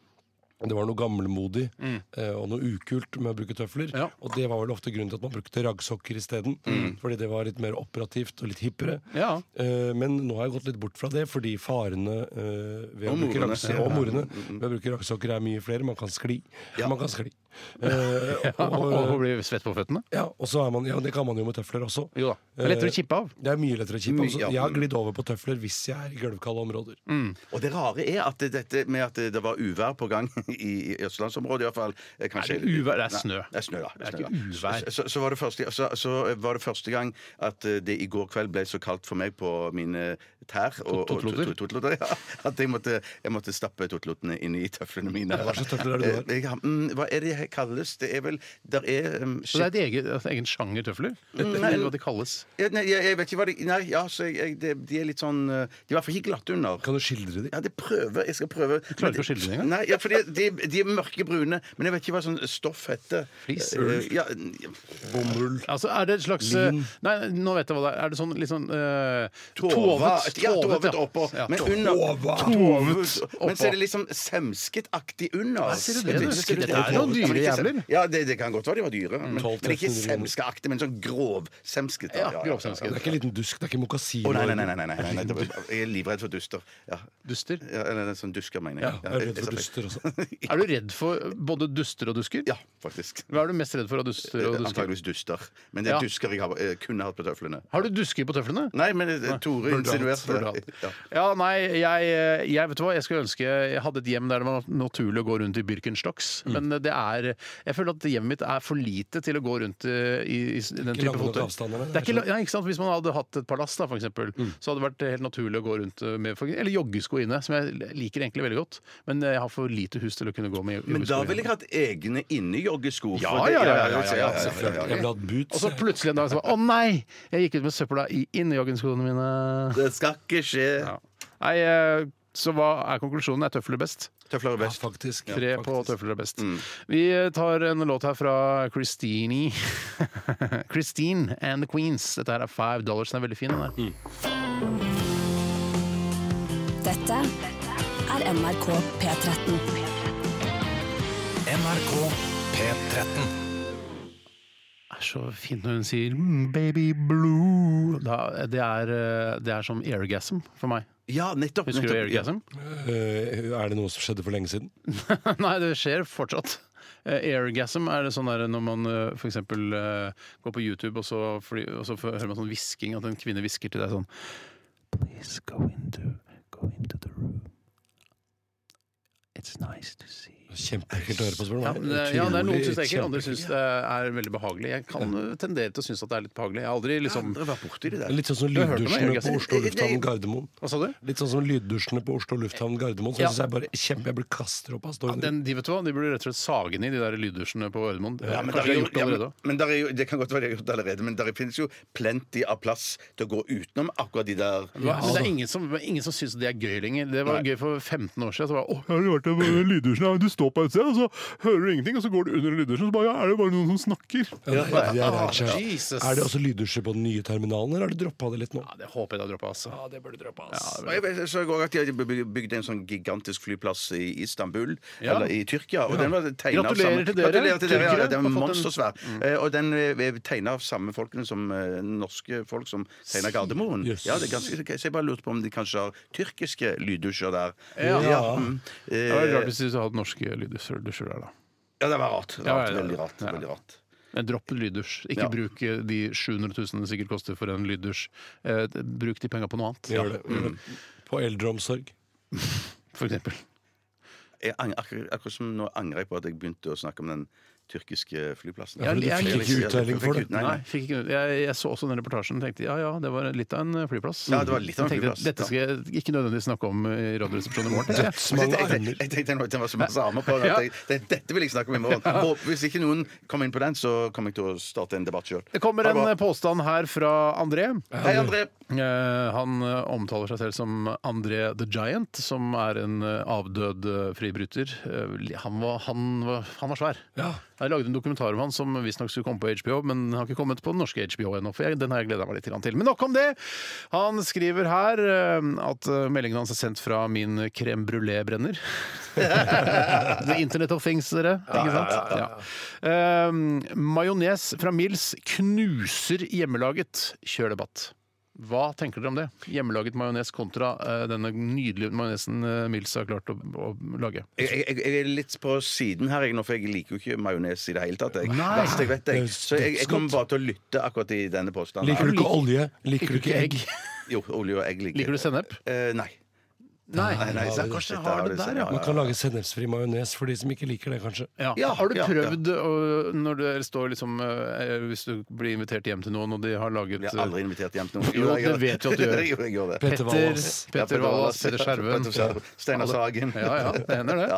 det var noe gammelmodig eh, og noe ukult med å bruke tøfler. Mm. Ja. Mm. Og det var vel ofte grunnen til at man brukte raggsokker isteden. Fordi det var litt mer operativt og litt hippere. Ja. Eh, men nå har jeg gått litt bort fra det, fordi farene eh, ved å Og bruke morene. raggs- og Mm, morene ved å bruke raggsokker er mye flere. Man kan skli. Man kan skli. Eh, Ja, og, og og, blir svett på føttene? ja, og så er man, ja, det kan man jo med tøfler også. Eh, Jo da. Det er lettere å kippe av. Det er mye lettere å kippe. Mye, Altså, ja. jeg har glidd over på tøfler hvis jeg er i gulvkalde områder. Mm. Og det rare er at det- dette med at det var uvær på gang i, eh, i østlandsområdet, iallfall Er det uvær? Det er snø. Det er snø, da. Det er Snø, ikke da. uvær. Så, så, var det første, så, så var det første gang at eh, det i går kveld ble så kaldt for meg på mine tær og og Totelotter? to- to- totelotter, ja, At jeg måtte, jeg måtte stappe totelotene inn i tøflene mine. Hva slags tøfler er det du har? Eh, jeg har? mm, Hva er det jeg kalles? Det er vel Der er um, Så det er et eget, altså, egen sjanger tøfler? Eller hva de kalles. Ja, Nei, jeg, jeg vet ikke hva det Nei, ja, så jeg, jeg, det, de er litt sånn eh, De er i hvert fall ikke glatte under. Kan du skildre de? Ja, det prøver Jeg skal prøve. Du klarer ikke å skille det engang? Nei, ja, for de, de, de er mørkebrune, men jeg vet ikke hva sånn stoff heter. Flis? Eh, ja, Bomull. Altså, er det et slags eh, Nei, nå vet jeg hva det er. Er det sånn litt sånn eh, Tovet. Ja, Tovet, tovet ja. oppå. Ja, Men tovet. under Tovet. Tovet. Men så er det liksom semsketaktig under. ser du det? Jeg Dette er tror tovet. noen dyre Ja, men ikke sem- jævler. Ja, det, det kan godt være de var dyre. Men, 12 men ikke 13 millioner. semskeaktig, men sånn grovsemsket. Ja, grovsemsket. Det er ikke en liten dusk, det er ikke mokasin. Å, nei, nei, nei, nei, nei, nei, nei. det var- Jeg er livredd for duster. Ja. Duster. Ja, eller en sånn dusker, mener Ja, jeg. jeg er redd for duster også. Er du redd for både duster og dusker? Ja, Eh, faktisk. Hva er du mest redd for av duster og dusker? Antakeligvis duster. Men det er Ja. dusker jeg har, eh, kunne hatt på tøflene. Har du dusker på tøflene? Nei, men eh, Tore Burde hatt, insinuerte Burde det. hatt. Ja. Ja, nei, jeg, jeg vet du hva, jeg skulle ønske jeg hadde et hjem der det var naturlig å gå rundt i Birkenstocks. Mm. Men det er Jeg føler at hjemmet mitt er for lite til å gå rundt i, i, i den Ikke type lange nok fotøy. avstander, nei, Det er ikke, jeg la- nei, ikke sant? Hvis man hadde hatt et palass, da, for eksempel, Mm. så hadde det vært helt naturlig å gå rundt eh, med for, Eller joggesko inne, som jeg liker egentlig veldig godt. Men jeg har for lite hus til å kunne gå med joggesko. Men da inne. ville jeg hatt egne innejoggesko. for Ja, det- ja, ja, ja, jeg vil si, ja, ja, ja, Jeg ville hatt Og boots. så plutselig en dag så bare Å nei! Jeg gikk ut med søpla i innejoggeskoene mine. Det skal ikke skje. Nei, eh, så hva er konklusjonen? Er tøfler best? Tøfler er Ja, best. faktisk. Tre Ja, på faktisk. tøfler er best. Vi tar en låt her fra Christine. Christine and the Queens. Dette her er Five Dollars. Den er veldig fin. Den her. Dette er NRK P13. NRK P13. Det er så fint når hun sier mm, 'baby blue'. Da, det, er, eh, det er som airgasm for meg. Ja, nettopp. Husker du nettopp. Eric Gassam? Eh, er det noe som skjedde for lenge siden? Nei, det skjer fortsatt. Eh, Airgasm er det sånn der når man f.eks. eh, går på YouTube, og så, fly, og så får- hører man sånn hvisking, at en kvinne hvisker til deg sånn Please go into, go into the room. It's nice to see. Kjempeekkelt å høre på, spør du Ja, meg. men det, ja, det er noen som tenker, andre Utrolig syns det er veldig behagelig. Jeg kan jo tendere til å synes at det er litt behagelig. Jeg har aldri liksom Aldri vært borti det kjempe- der. Litt sånn som Du har hørt om det, lyddusjene Jørgen? på Oslo lufthavn Gardermoen. Hva sa du? Litt sånn som lyddusjene på Oslo lufthavn Gardermoen. Som Ja. jeg synes jeg bare kjempe, jeg blir kastet opp av Ja, stormen. den, de vet du hva, de burde rett og slett sage ned de der lyddusjene på Gardermoen. Ja, men Kanskje de har der er jo, gjort det ja, allerede men, også. men der er jo, det kan godt være jeg har gjort det allerede, men der finnes jo plenty av plass til å gå utenom akkurat de der Hva- men altså. det er ingen som, ingen som syns det er gøy lenger. Det var gøy for 15 år siden. Så bare, Åh, har du hørt om den lyddusjen? Ja, Du står på et sted, og så hører du ingenting, og så går du under lyddusjen, og så bare, ja, er det bare noen som snakker. Ja, det er- det er Ah, rart, ja. Jesus. Er det også lyddusjer på den nye terminalen, eller har du droppa det litt nå? Ja, det håper jeg da dropper, altså. Og Jeg vet- så i går at de hadde by- bygd en sånn gigantisk flyplass i Istanbul, Ja. eller i Tyrkia. Og den var tegnet av Gratulerer samme- til dere, Gratulerer til dere, ja, tyrkere, har fått Den var en- Mm. monstersvær. Eh, Og den er tegna av samme folkene som eh, norske folk som tegna Gardermoen. Jøss. Ja, det er ganske, så jeg bare lurte på om de kanskje har tyrkiske lyddusjer der. Ja. mm. Det var rart Eh, hvis du hadde norske lyddusjer dusjer der, da. ja, det var rart. Ja, rart ja, ja. veldig rart. Ja. Veldig rart. Men Dropp lyddusj. Ikke Ja. bruk eh, de 700 000 det sikkert koster for en lyddusj. Eh, bruk de penga på noe annet, Gjør det. Gjør det. På eldreomsorg. for eksempel. Jeg ang- akkurat, akkurat som nå angrer jeg på at jeg begynte å snakke om den tyrkiske flyplassen. Ja, for du Jeg- fikk ikke uttelling for det. Nei, Nei, nei. fikk ikke, jeg, jeg så også den reportasjen og tenkte ja ja, det var litt av en flyplass. Ja, det var litt av en Jeg tenkte, flyplass, Dette skal jeg ikke nødvendigvis snakke om i Radioresepsjonen i morgen. tenkte jeg. Men Mange Jeg, jeg, jeg, armer. jeg tenkte nå at det var så masse armer på den Ja. at jeg, det, dette vil jeg snakke om i morgen. Og hvis ikke noen kommer inn på den, så kommer jeg til å starte en debatt sjøl. Det kommer en påstand her fra André. Hei, André! Eh, Han eh, omtaler seg selv som André the Giant, som er en eh, avdød eh, fribryter. Eh, Han var, han var, han var svær. Ja. Jeg lagde en dokumentar om han som visstnok skulle komme på HBO, men den har ikke kommet på den norske HBO ennå. For jeg, den har jeg gleda meg litt grann til. Men nok om det! Han skriver her eh, at eh, meldingen hans er sendt fra min crème brulé-brenner. The Internet of Things, dere. Ikke sant? Ja, Eh, Majones fra Mills knuser hjemmelaget. Kjør debatt. Hva tenker dere om det? Hjemmelaget majones kontra eh, denne nydelige majonesen eh, Mills har klart å, å lage. Jeg, jeg, jeg er litt på siden her, jeg, nå, for jeg liker jo ikke majones i det hele tatt. Jeg. Nei. Verst jeg vet, jeg. Så jeg, jeg kommer Dødsgodt. bare til å lytte akkurat i denne påstanden. Liker du ikke olje? Liker du ikke egg? Jo, olje og egg liker Liker du sennep? Eh, nei. Nei. Nei, nei, så kanskje jeg har det der, ja. Man kan lage sennepsfri majones for de som ikke liker det, kanskje. Ja. Ja, har du ja, prøvd å- når du står liksom eh, Hvis du blir invitert hjem til noen, og de har laget Jeg har aldri invitert hjem til noen. Jo, det vet jeg at du gjør. Jo, jeg gjør det. Petter, Petter Wallace. Petter Wallas, Petter Skjerven Petter Skjerven, Steinar Sagen. Ja, ja, det hender det.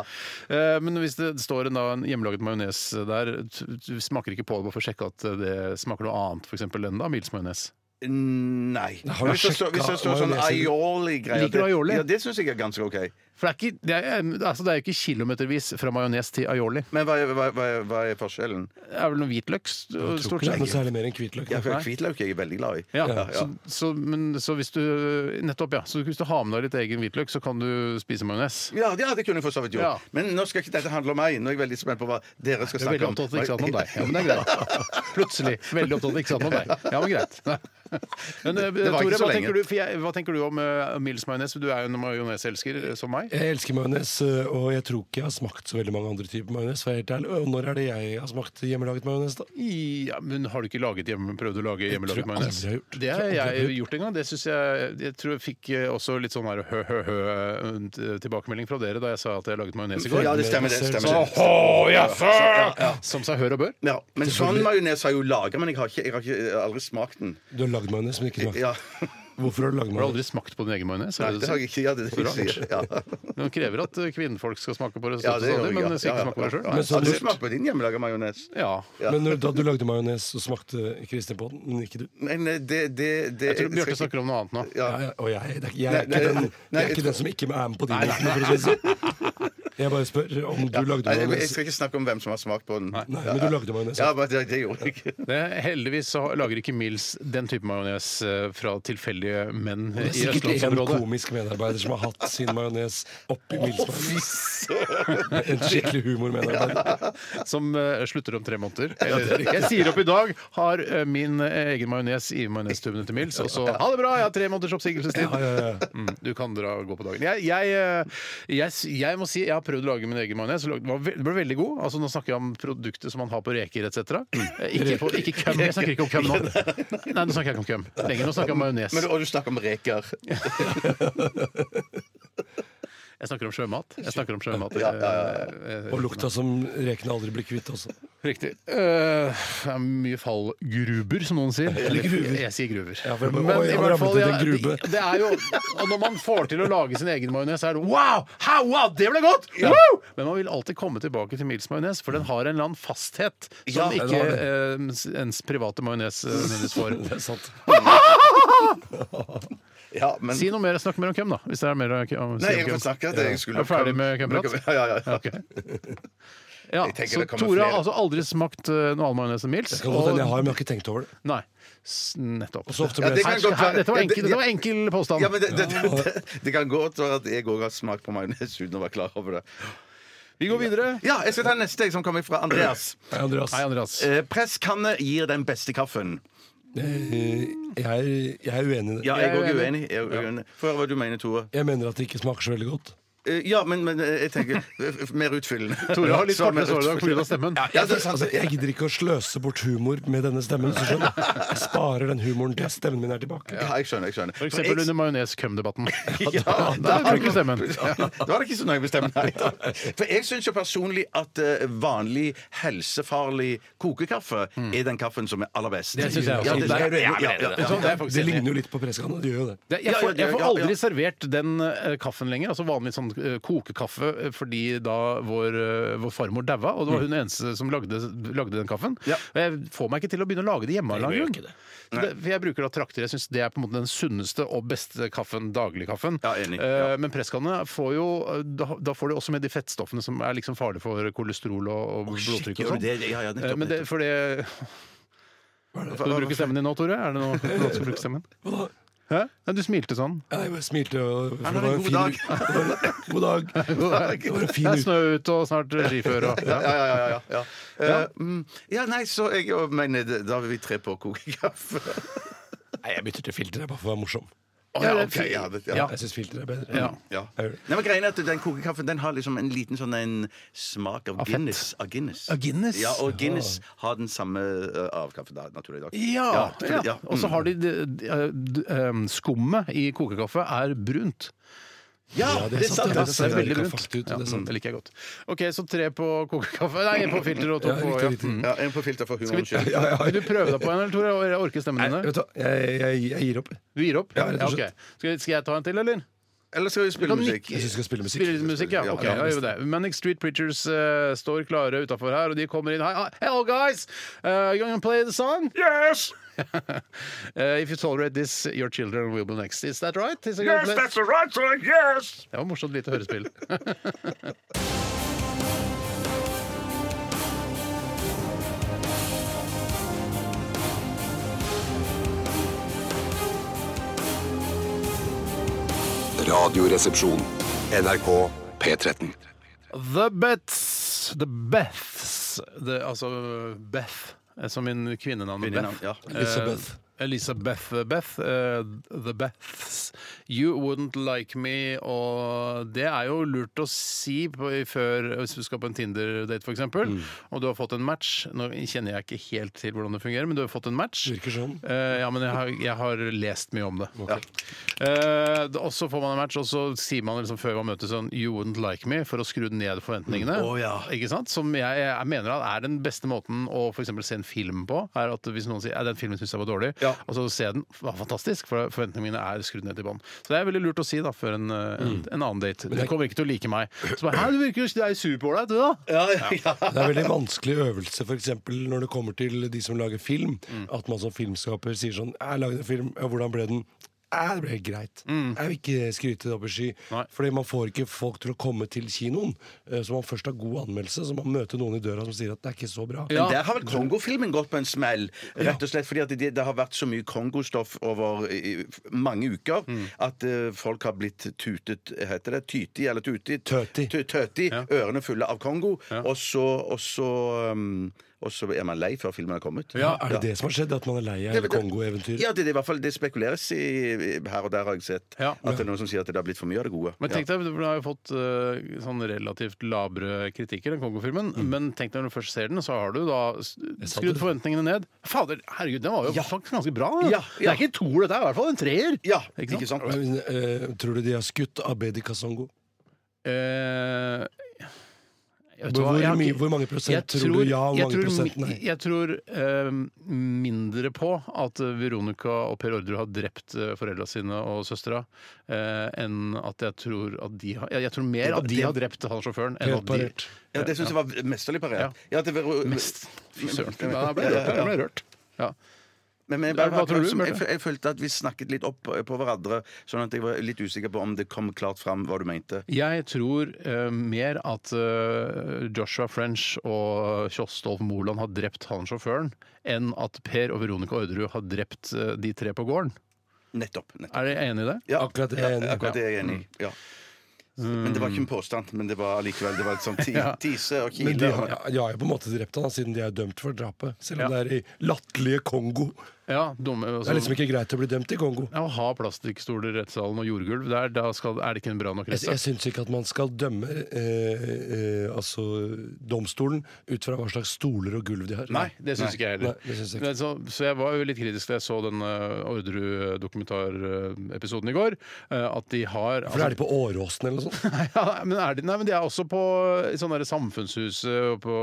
Eh, Men hvis det står en, da, en hjemmelaget majones der, t- du smaker ikke på det bare for å sjekke at eh, det smaker noe annet for eksempel, enn da Mils majones? Nei. Har du Hvis det står- hvis det sjekket står sånn majonesen? aioli-greier Liker du aioli? Ja, det syns jeg er ganske OK. For det er ikke, det er, altså, det er jo ikke kilometervis fra majones til aioli. Men hva er, hva, er- hva, er- hva er forskjellen? Det er vel noe hvitløk? s- Jeg tror Stort ikke det er sett. noe særlig mer enn hvitløk. Ja, for Nei. Hvitløk er jeg veldig glad i. Ja, Ja, ja. Så, så, men, så hvis du Nettopp, ja. Så hvis du har med deg litt egen hvitløk, så kan du spise majones. Ja, ja, det kunne jeg for så vidt gjort. Ja. Men nå skal ikke dette handle om meg. Nå er jeg veldig spent på hva dere skal Du er snakke veldig om. opptatt av at det ikke handler om deg. Ja, men det er greit. Plutselig. Veldig opptatt av at det ikke handler om deg. Ja, men greit. Men, eh, Det var Tore, ikke så hva lenge. tenker, du, for jeg, hva tenker du om uh, Mills majones? Du er jo en majoneselsker eh, som meg. Jeg elsker majones, øh, og jeg tror ikke jeg har smakt så veldig mange andre typer majones. for å være helt ærlig. Og når er det jeg har smakt hjemmelaget majones, da? Ja, men har du ikke laget hjemme, prøvd å lage hjemmelaget tror jeg majones? aldri jeg har gjort. Det har Tror jeg aldri jeg jeg har gjort en gang. Det synes jeg, jeg tror jeg fikk eh, også litt sånn her hø-hø-hø-tilbakemelding eh, fra dere da jeg sa at jeg laget majones i går. Ja, det stemmer, det stemmer. Så, det. «Åh, jaså!» Som seg hør og bør. Ja, men sånn majones har jeg jo laga, men jeg har, ikke, jeg har ikke, jeg har aldri smakt den. Du har lagd majones, men ikke smakt. Ja, Hvorfor har du lagd Har du majones? aldri smakt på din egen majones? er Nei, det det det du har sier? jeg ikke. Ja, det, det, sier jeg. ja. Den krever at eh, kvinnfolk skal smake på det, ja, det stadig, gjør jeg. sånn, men ja. skal Ja, ikke smake på det ja. sjøl. Men så- Har du smakt på din hjemmelaga majones? Ja. Men når, da du lagde majones, så smakte Kristin på den, men ikke du. Men eh, det, det, det Jeg tror Bjarte snakker om noe annet nå. Ja. Ja, ja, og jeg, det er ikke- jeg er Nei, ikke nei, den, nei, jeg er jeg ikke tror- den som ikke er med på de måtene, for å si det sånn. Jeg bare spør om du lagde Nei, jeg, jeg majones. skal ikke snakke om hvem som har smakt på den. Nei, men du lagde majones. Ja, men det, det gjorde jeg ikke. Det, heldigvis så lager ikke Mills den type majones eh, fra tilfeldige menn Det i er sikkert en østlandsområdet. komisk medarbeider som har hatt sin majones oppi Milsmajones. En skikkelig humormedarbeider. Som eh, slutter om tre måneder. Eller, jeg sier opp i dag, har eh, min eh, egen majones i majonestubene til Mills, og så ha det bra, jeg har tre måneders oppsigelsestid. Ja, ja, ja. Mm, du kan dra og gå på dagen. Jeg, jeg, eh, jeg, s- jeg må si jeg har prøvd å lage min egen majones. og lag- den var ve- Den ble veldig god. Altså, nå snakker jeg om produktet som man har på reker etc. Mm. Eh, Ikke, på- ikke køm. Jeg snakker ikke om køm nå. Nei, nå snakker jeg ikke om køm lenger. Nå snakker jeg om majones. Men, og du snakker om reker. Jeg snakker om sjømat. Jeg snakker om sjømat. Ja, ja, Eh, eh, Og lukta som rekene aldri blir kvitt også. Riktig. Eh, det er mye fallgruber, som noen sier. Eller gruver. Jeg sier gruver. Ja, for jeg bare, oi, han ramlet i en grube. det, det er jo, og når man får til å lage sin egen majones, er det wow! How, wow, det ble godt! Wow! Men man vil alltid komme tilbake til Mils majones, for den har en eller annen fasthet som den ikke har eh, ens private majones eh, nødvendigvis får. Det er sant. Ja, men Si noe mer. Snakk mer om hvem, da. Hvis det er mer å si om Nei, jeg hvem. får snakke. at Jeg skulle Er du ferdig med kømprat? Ja, ja, ja. Ok. Ja, Jeg tenker så det kommer Tore har flere. altså aldri smakt eh, noe annen majones enn Mils. Det kan godt hende jeg og- har, men jeg har ikke tenkt over det. Nei. S- Nettopp. Og så ofte Ja, blir det jeg kan Her, jeg godt være. her, dette var enkel, Ja, det- dette var enkel påstand. Ja, men det, det, det, det kan godt være at jeg òg har smakt på majones uten å være klar over det. Vi går videre. Ja, Jeg skal ta neste, jeg, som kommer fra Andreas. Hei, Andreas. Hei, Andreas. Eh, presskanne gir den beste kaffen. Eh, Jeg er, jeg er uenig i det. Ja, jeg Jeg er òg er uenig. uenig. Jeg er uenig. Få høre hva du mener, Tore. Jeg mener at det ikke smaker så veldig godt. Eh, ja, men, men eh, jeg tenker eh, mer utfyllende. Tore har litt Svar mer kortere sår i dag pga. stemmen. Ja, det er sant. Altså, jeg gidder ikke å sløse bort humor med denne stemmen. hvis du skjønner. Jeg sparer den humoren til stemmen min er tilbake. Ja, jeg skjønner. jeg skjønner For eksempel under majones-køm-debatten. Ja, Da bruker stemmen. Ja, Da var det ikke så nøye med stemmen. Nei, da. For jeg syns jo personlig at eh, vanlig helsefarlig kokekaffe er den kaffen som er aller best. Mm. Det synes jeg også. Ja, det, Der er ja, du enig. ja, ja, ja. Sånn, det er faktisk Det enig. ligner jo litt på presskanne. Det gjør jo det. Det- Jeg Ja, får, ja, jeg det- får ja, ja. aldri servert den eh, kaffen lenger, altså vanlig sånn eh, kokekaffe, eh, fordi da vår, eh, vår farmor daua, og det var hun eneste som lagde, lagde den kaffen. Mm. Ja. Og Jeg får meg ikke til å begynne å lage det hjemme av en eller annen grunn. Så det- for Jeg bruker da trakter. Jeg syns det er på en måte den sunneste og beste kaffen, dagligkaffen. Ja, enig. Eh, Ja. Men presskanne får jo eh, Da, da får du også med de fettstoffene som er liksom farlige for kolesterol og, og blodtrykk og gjør sånn. du det? Ja, ja, nettopp, Eh, Men det, nettopp. for det Skal du bruke stemmen din nå, Tore? Er det noe noe du skal bruke stemmen? Hva da? Hæ? Nei, du smilte sånn. Ja, Jeg bare smilte og for Ja, men det var en god fin- dag. God dag. Det var en Det fin er uke. snø ute og snart skiføre. og- Ja, ja, ja, ja, ja, ja. Eh, mm, ja, nei, så jeg og- men det- da er vi tre på kokekaffe. Nei, jeg bytter til filter, jeg, bare for å være morsom. Å, ja, ok, ja, det- ja. Ja. Jeg syns filter er bedre. Ja. Ja. Jeg gjør det. Nei, men greien er at Den kokekaffen den har liksom en liten sånn en smak av fett. Guinness. Av Guinness. Av Guinness? Ja, og Guinness har den samme eh, av kaffe, da, naturlig nok. Ja, ja, ja. Og så mm. har de, de, de, de em, ehm, Skummet i kokekaffe er brunt. Ja, det er sant! det Det er ser sant. veldig Det kan brunt fakte ut, ut. Ja, mm, det er sant. det liker jeg godt. OK, så tre på kokekaffe Nei, én på filter og to Ja, på riktig, ja. riktig. Mm. Ja, en på filter for Skal vi- humorens skyld. Vil du prøve deg på en, eller, Tore? Jeg orker stemmen Nei, din. vet du hva, jeg, jeg, jeg gir opp. Du gir opp? Ja, rett og ok. slett. Skal, skal jeg ta en til, eller? Eller skal vi Du spille kan musikk? Jeg syns vi skal spille musikk. Spiller litt musikk, ja. Ja, Ok, ja, da gjør vi det. Manic Street Preachers eh, står klare utafor her, og de kommer inn. Hi, hello, guys! Uh, you gonna play the song? Yes! Eh, if you tolerate this, your children will be next. Is that right? Is that yes, that's the right song! Yes! Det var morsomt lite hørespill. Radioresepsjon. NRK P13. The Beths. The Beths. Det- altså Beth, eh, som min kvinnenavn Kvinnenavn, Beth. ja. Elizabeth. Eh, Elizabeth eh, Beth. eh, the Beths. You wouldn't like me. Og det er jo lurt å si på, i før hvis du skal på en Tinder-date, f.eks., eksempel Mm. og du har fått en match Nå kjenner jeg ikke helt til hvordan det fungerer, men du har fått en match. Virker sånn. Eh, ja, men jeg har, jeg har lest mye om det. Eh, da- og så får man en match, og så sier man liksom før man møtes sånn You wouldn't like me, for å skru ned forventningene. Mm. Å, ja. Ikke sant? Som jeg, jeg mener at er den beste måten å for eksempel se en film på. Er at Hvis noen sier «Ja, den filmen syns jeg var dårlig, Ja. og så ser jeg den, var fantastisk, for forventningene mine er skrudd ned til bånn. Så det er veldig lurt å si da før en, eh, en, Mm. en annen date. Du kommer ikke til å like meg. Så bare Hæ, du virker jo det er jo superålreit, du, da. Ja, ja, ja. Det er en veldig vanskelig øvelse for eksempel, når det kommer til de som lager film. At man som filmskaper sier sånn 'Jeg lagde en film. Ja, hvordan ble den?' eh, det ble helt greit. Mm. Jeg vil ikke skryte det opp i sky. Nei. Fordi man får ikke folk til å komme til kinoen. eh, Så man først har god anmeldelse, så man møter noen i døra som sier at det er ikke så bra. Ja. Der har vel Kongo-filmen gått på en smell. Rett og slett fordi at det, det har vært så mye Kongo-stoff over eh, mange uker at eh, folk har blitt tutet Heter det tyti eller tuti? Tøti. Tø- tøti Ørene fulle av Kongo. Og så og så, um, og så er man lei før filmen har kommet. Ja, er det det som har skjedd? At man er lei av hele Kongo-eventyret? Ja, det, det, er i hvert fall, det spekuleres i, her og der, har jeg sett. Ja. At det er noen som sier at det har blitt for mye av det gode. Men tenk deg, Du har jo fått eh, sånn relativt labre kritikker, den Kongo-filmen. Mm. Men tenk deg når du først ser den, så har du da s- skrudd forventningene ned. Fader, herregud, den var jo faktisk ganske bra! den. Ja, Det ja. er ikke en toer, dette er i hvert fall en treer! Ja, Ikke sant? ikke sant? Men, eh, tror du de har skutt Abedi Kasongo? Eh, jeg vet Hvor, hva, jeg har mye, ikke- hvor mange prosent tror, du ja, og hvor jeg mange tror, prosent nei? Jeg tror eh, mindre på at Veronica og Per Orderud har drept eh, foreldra sine og søstera, eh, enn at jeg tror at de har Jeg, jeg tror mer at de har drept han sjåføren enn Helt at de parert. Ja, det syns jeg var mesterlig parert. Ja. det var, Mest Fy søren. Ja, Jeg ble rørt. Jeg ble rørt. Ja. Men, men jeg, Hva bare, bare, tror du, som- jeg, Bjarte? jeg følte at vi snakket litt opp eh, på hverandre, sånn at jeg var litt usikker på om det kom klart fram hva du mente. Jeg tror eh, mer at eh, Joshua French og Kjostolf Moland har drept han sjåføren, enn at Per og Veronica Orderud har drept eh, de tre på gården. Nettopp. nettopp. Er dere enig i det? Ja, Akkurat det er ja, jeg enig i. akkurat det er jeg enig i. Ja. Men det var ikke en påstand, men det var allikevel det var et sånt ti, tise og Men de kile. har, ja, de har jo på en måte drept han, da, siden de er dømt for drapet. Selv om det er i latterlige Kongo. Ja, dumme, altså, Det er liksom ikke greit å bli dømt i Kongo. Ja, Å ha plastikkstoler i rettssalen og jordgulv der, da skal, er det ikke en bra nok Jeg, jeg rettssal. syns ikke at man skal dømme eh, eh, altså domstolen ut fra hva slags stoler og gulv de har. Nei, det syns ikke jeg heller. Nei, det synes jeg ikke. Men Så, så jeg var jo litt kritisk da jeg så den eh, Orderud-dokumentarepisoden i går. eh, At de har For da er de på Åråsen eller noe sånt. ja, men, er de, nei, men de er også på i sånne der samfunnshuset og på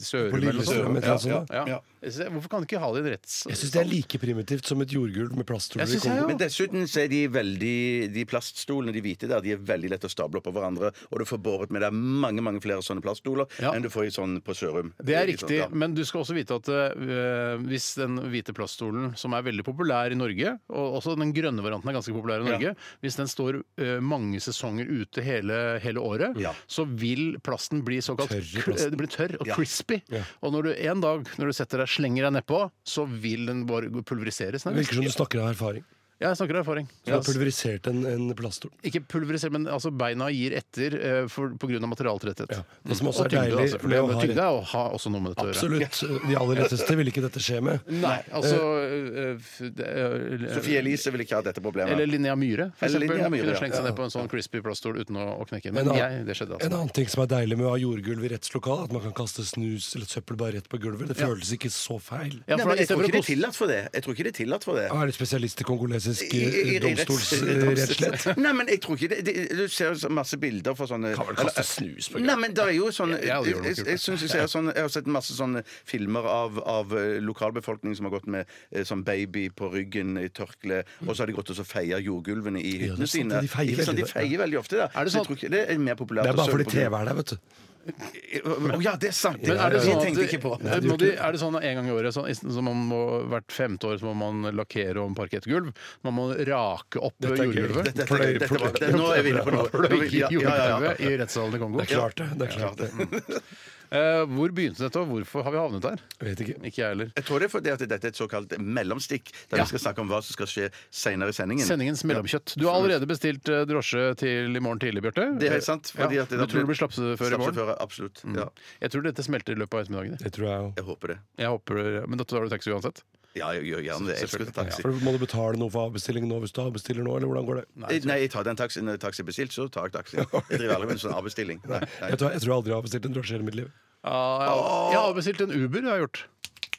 Sørum På eller noe Lillestrøm, sånt. et eller annet sånt, Ja. Så Hvorfor kan de ikke ha det i en rettssal? Jeg syns det er like primitivt som et jordgulv med Jeg plaststoler i synes jeg Kongo. jo. Men dessuten så er de veldig De plaststolene, de hvite der, de er veldig lette å stable oppå hverandre. Og du får båret med deg mange mange flere sånne plaststoler Ja. enn du får i sånn på Sørum. Det er I sånn, riktig, ja. men du skal også vite at eh, hvis den hvite plaststolen, som er veldig populær i Norge, og også den grønne varianten er ganske populær i Norge, hvis den står eh, mange sesonger ute hele, hele året, Ja. så vil plasten bli såkalt Tørre kr- plasten. det blir tørr og Ja. crispy. Og når du en dag når du setter deg, slenger deg nedpå, så vil den bare pulveriseres. Det nærmest. virker som du snakker av erfaring. Ja, jeg snakker av erfaring. Du har pulverisert en, en plaststol. Ikke pulverisert, men altså beina gir etter eh, for- på grunn av materialtretthet. Det som også Og er tyngde, deilig altså, for med å det- ha Tyngde rett- er å ha også noe med dette å gjøre. Absolutt. De aller letteste ville ikke dette skje med. Nei, altså øh, f- det er- eh, eh, Sofie Elise vil ikke ha dette problemet. Eller Linnea Myhre, for Eller eksempel. Linnea Myhre, Kunne ja. slengt seg ned på en sånn crispy plaststol uten å, å knekke. En Men annen- jeg, det skjedde En altså. annen ting som er deilig med å ha jordgulv i rettslokalet, at man kan kaste snus eller søppel bare rett på gulvet. Det føles ikke så feil. Ja, Nei, for i men jeg tror stedet for ikke det å er tillatt for det. Jeg tror ikke det er tillatt for det. Er det spesialist i kongolesisk I- i- i- eh, i- domstolsrettslett? Nei, men jeg tror ikke det, det Du ser jo så masse bilder fra sånne Kan vel kaste snus på Nei, men det er jo sånne Ja, Jeg, det gjør nok jeg, ikke. jeg, synes jeg, ser sånn, jeg har sett masse sånne filmer av, av eh, lokalbefolkningen som har gått med eh, sånn baby på ryggen i tørkle, og så har de gått og så feier jordgulvene i Ja, det er hyttene sant, sine. de feier Ikke sant, veldig de feier veldig ofte der. Er det Så sånn jeg tror ikke det er mer populært Det er å bare søle fordi på- treet er der, vet du. Å ja, det er sant! Men er det sånn, at, tenkte jeg ikke på. Nei, må de, er det sånn at en gang i året sånn, i- som man må, Hvert femte år så må man lakkere om parkettgulv? Man må rake opp Dette er gøy. jordgulvet? Dette, dette, dette, var- det- nå er vi inne på noe. Pløye Ja, ja, ja, ja. jordgulvet i rettssalen i Kongo? Det er klart, det. det, er klart det. Eh, hvor begynte dette, og hvorfor har vi havnet der? Jeg vet ikke. Ikke jeg heller. Jeg tror det er fordi at dette er et såkalt mellomstikk, der Ja. vi skal snakke om hva som skal skje senere i sendingen. Sendingens mellomkjøtt. Du har allerede bestilt eh, drosje til i morgen tidlig, Bjarte. Det er helt sant. Fordi ja. at det Du da tror du blir slapsefører i morgen? Slapsefører, absolutt. Ja, Jeg tror dette smelter i løpet av ettermiddagen. Det tror jeg jo. jeg håper det. Jeg håper, Men da tar du taxi uansett? Ja, jeg gjør gjerne det. Jeg elsker taxi. For Må du betale noe for avbestillingen nå hvis du avbestiller nå, eller hvordan går det? Eh, Nei, jeg tar den taxi når taxi er bestilt, så tar jeg taxi. Jeg driver aldri med en sånn avbestilling. Nei, nei. Jeg tror, jeg tror aldri jeg har bestilt en drosje i hele mitt liv. jeg har bestilt en Uber. jeg har gjort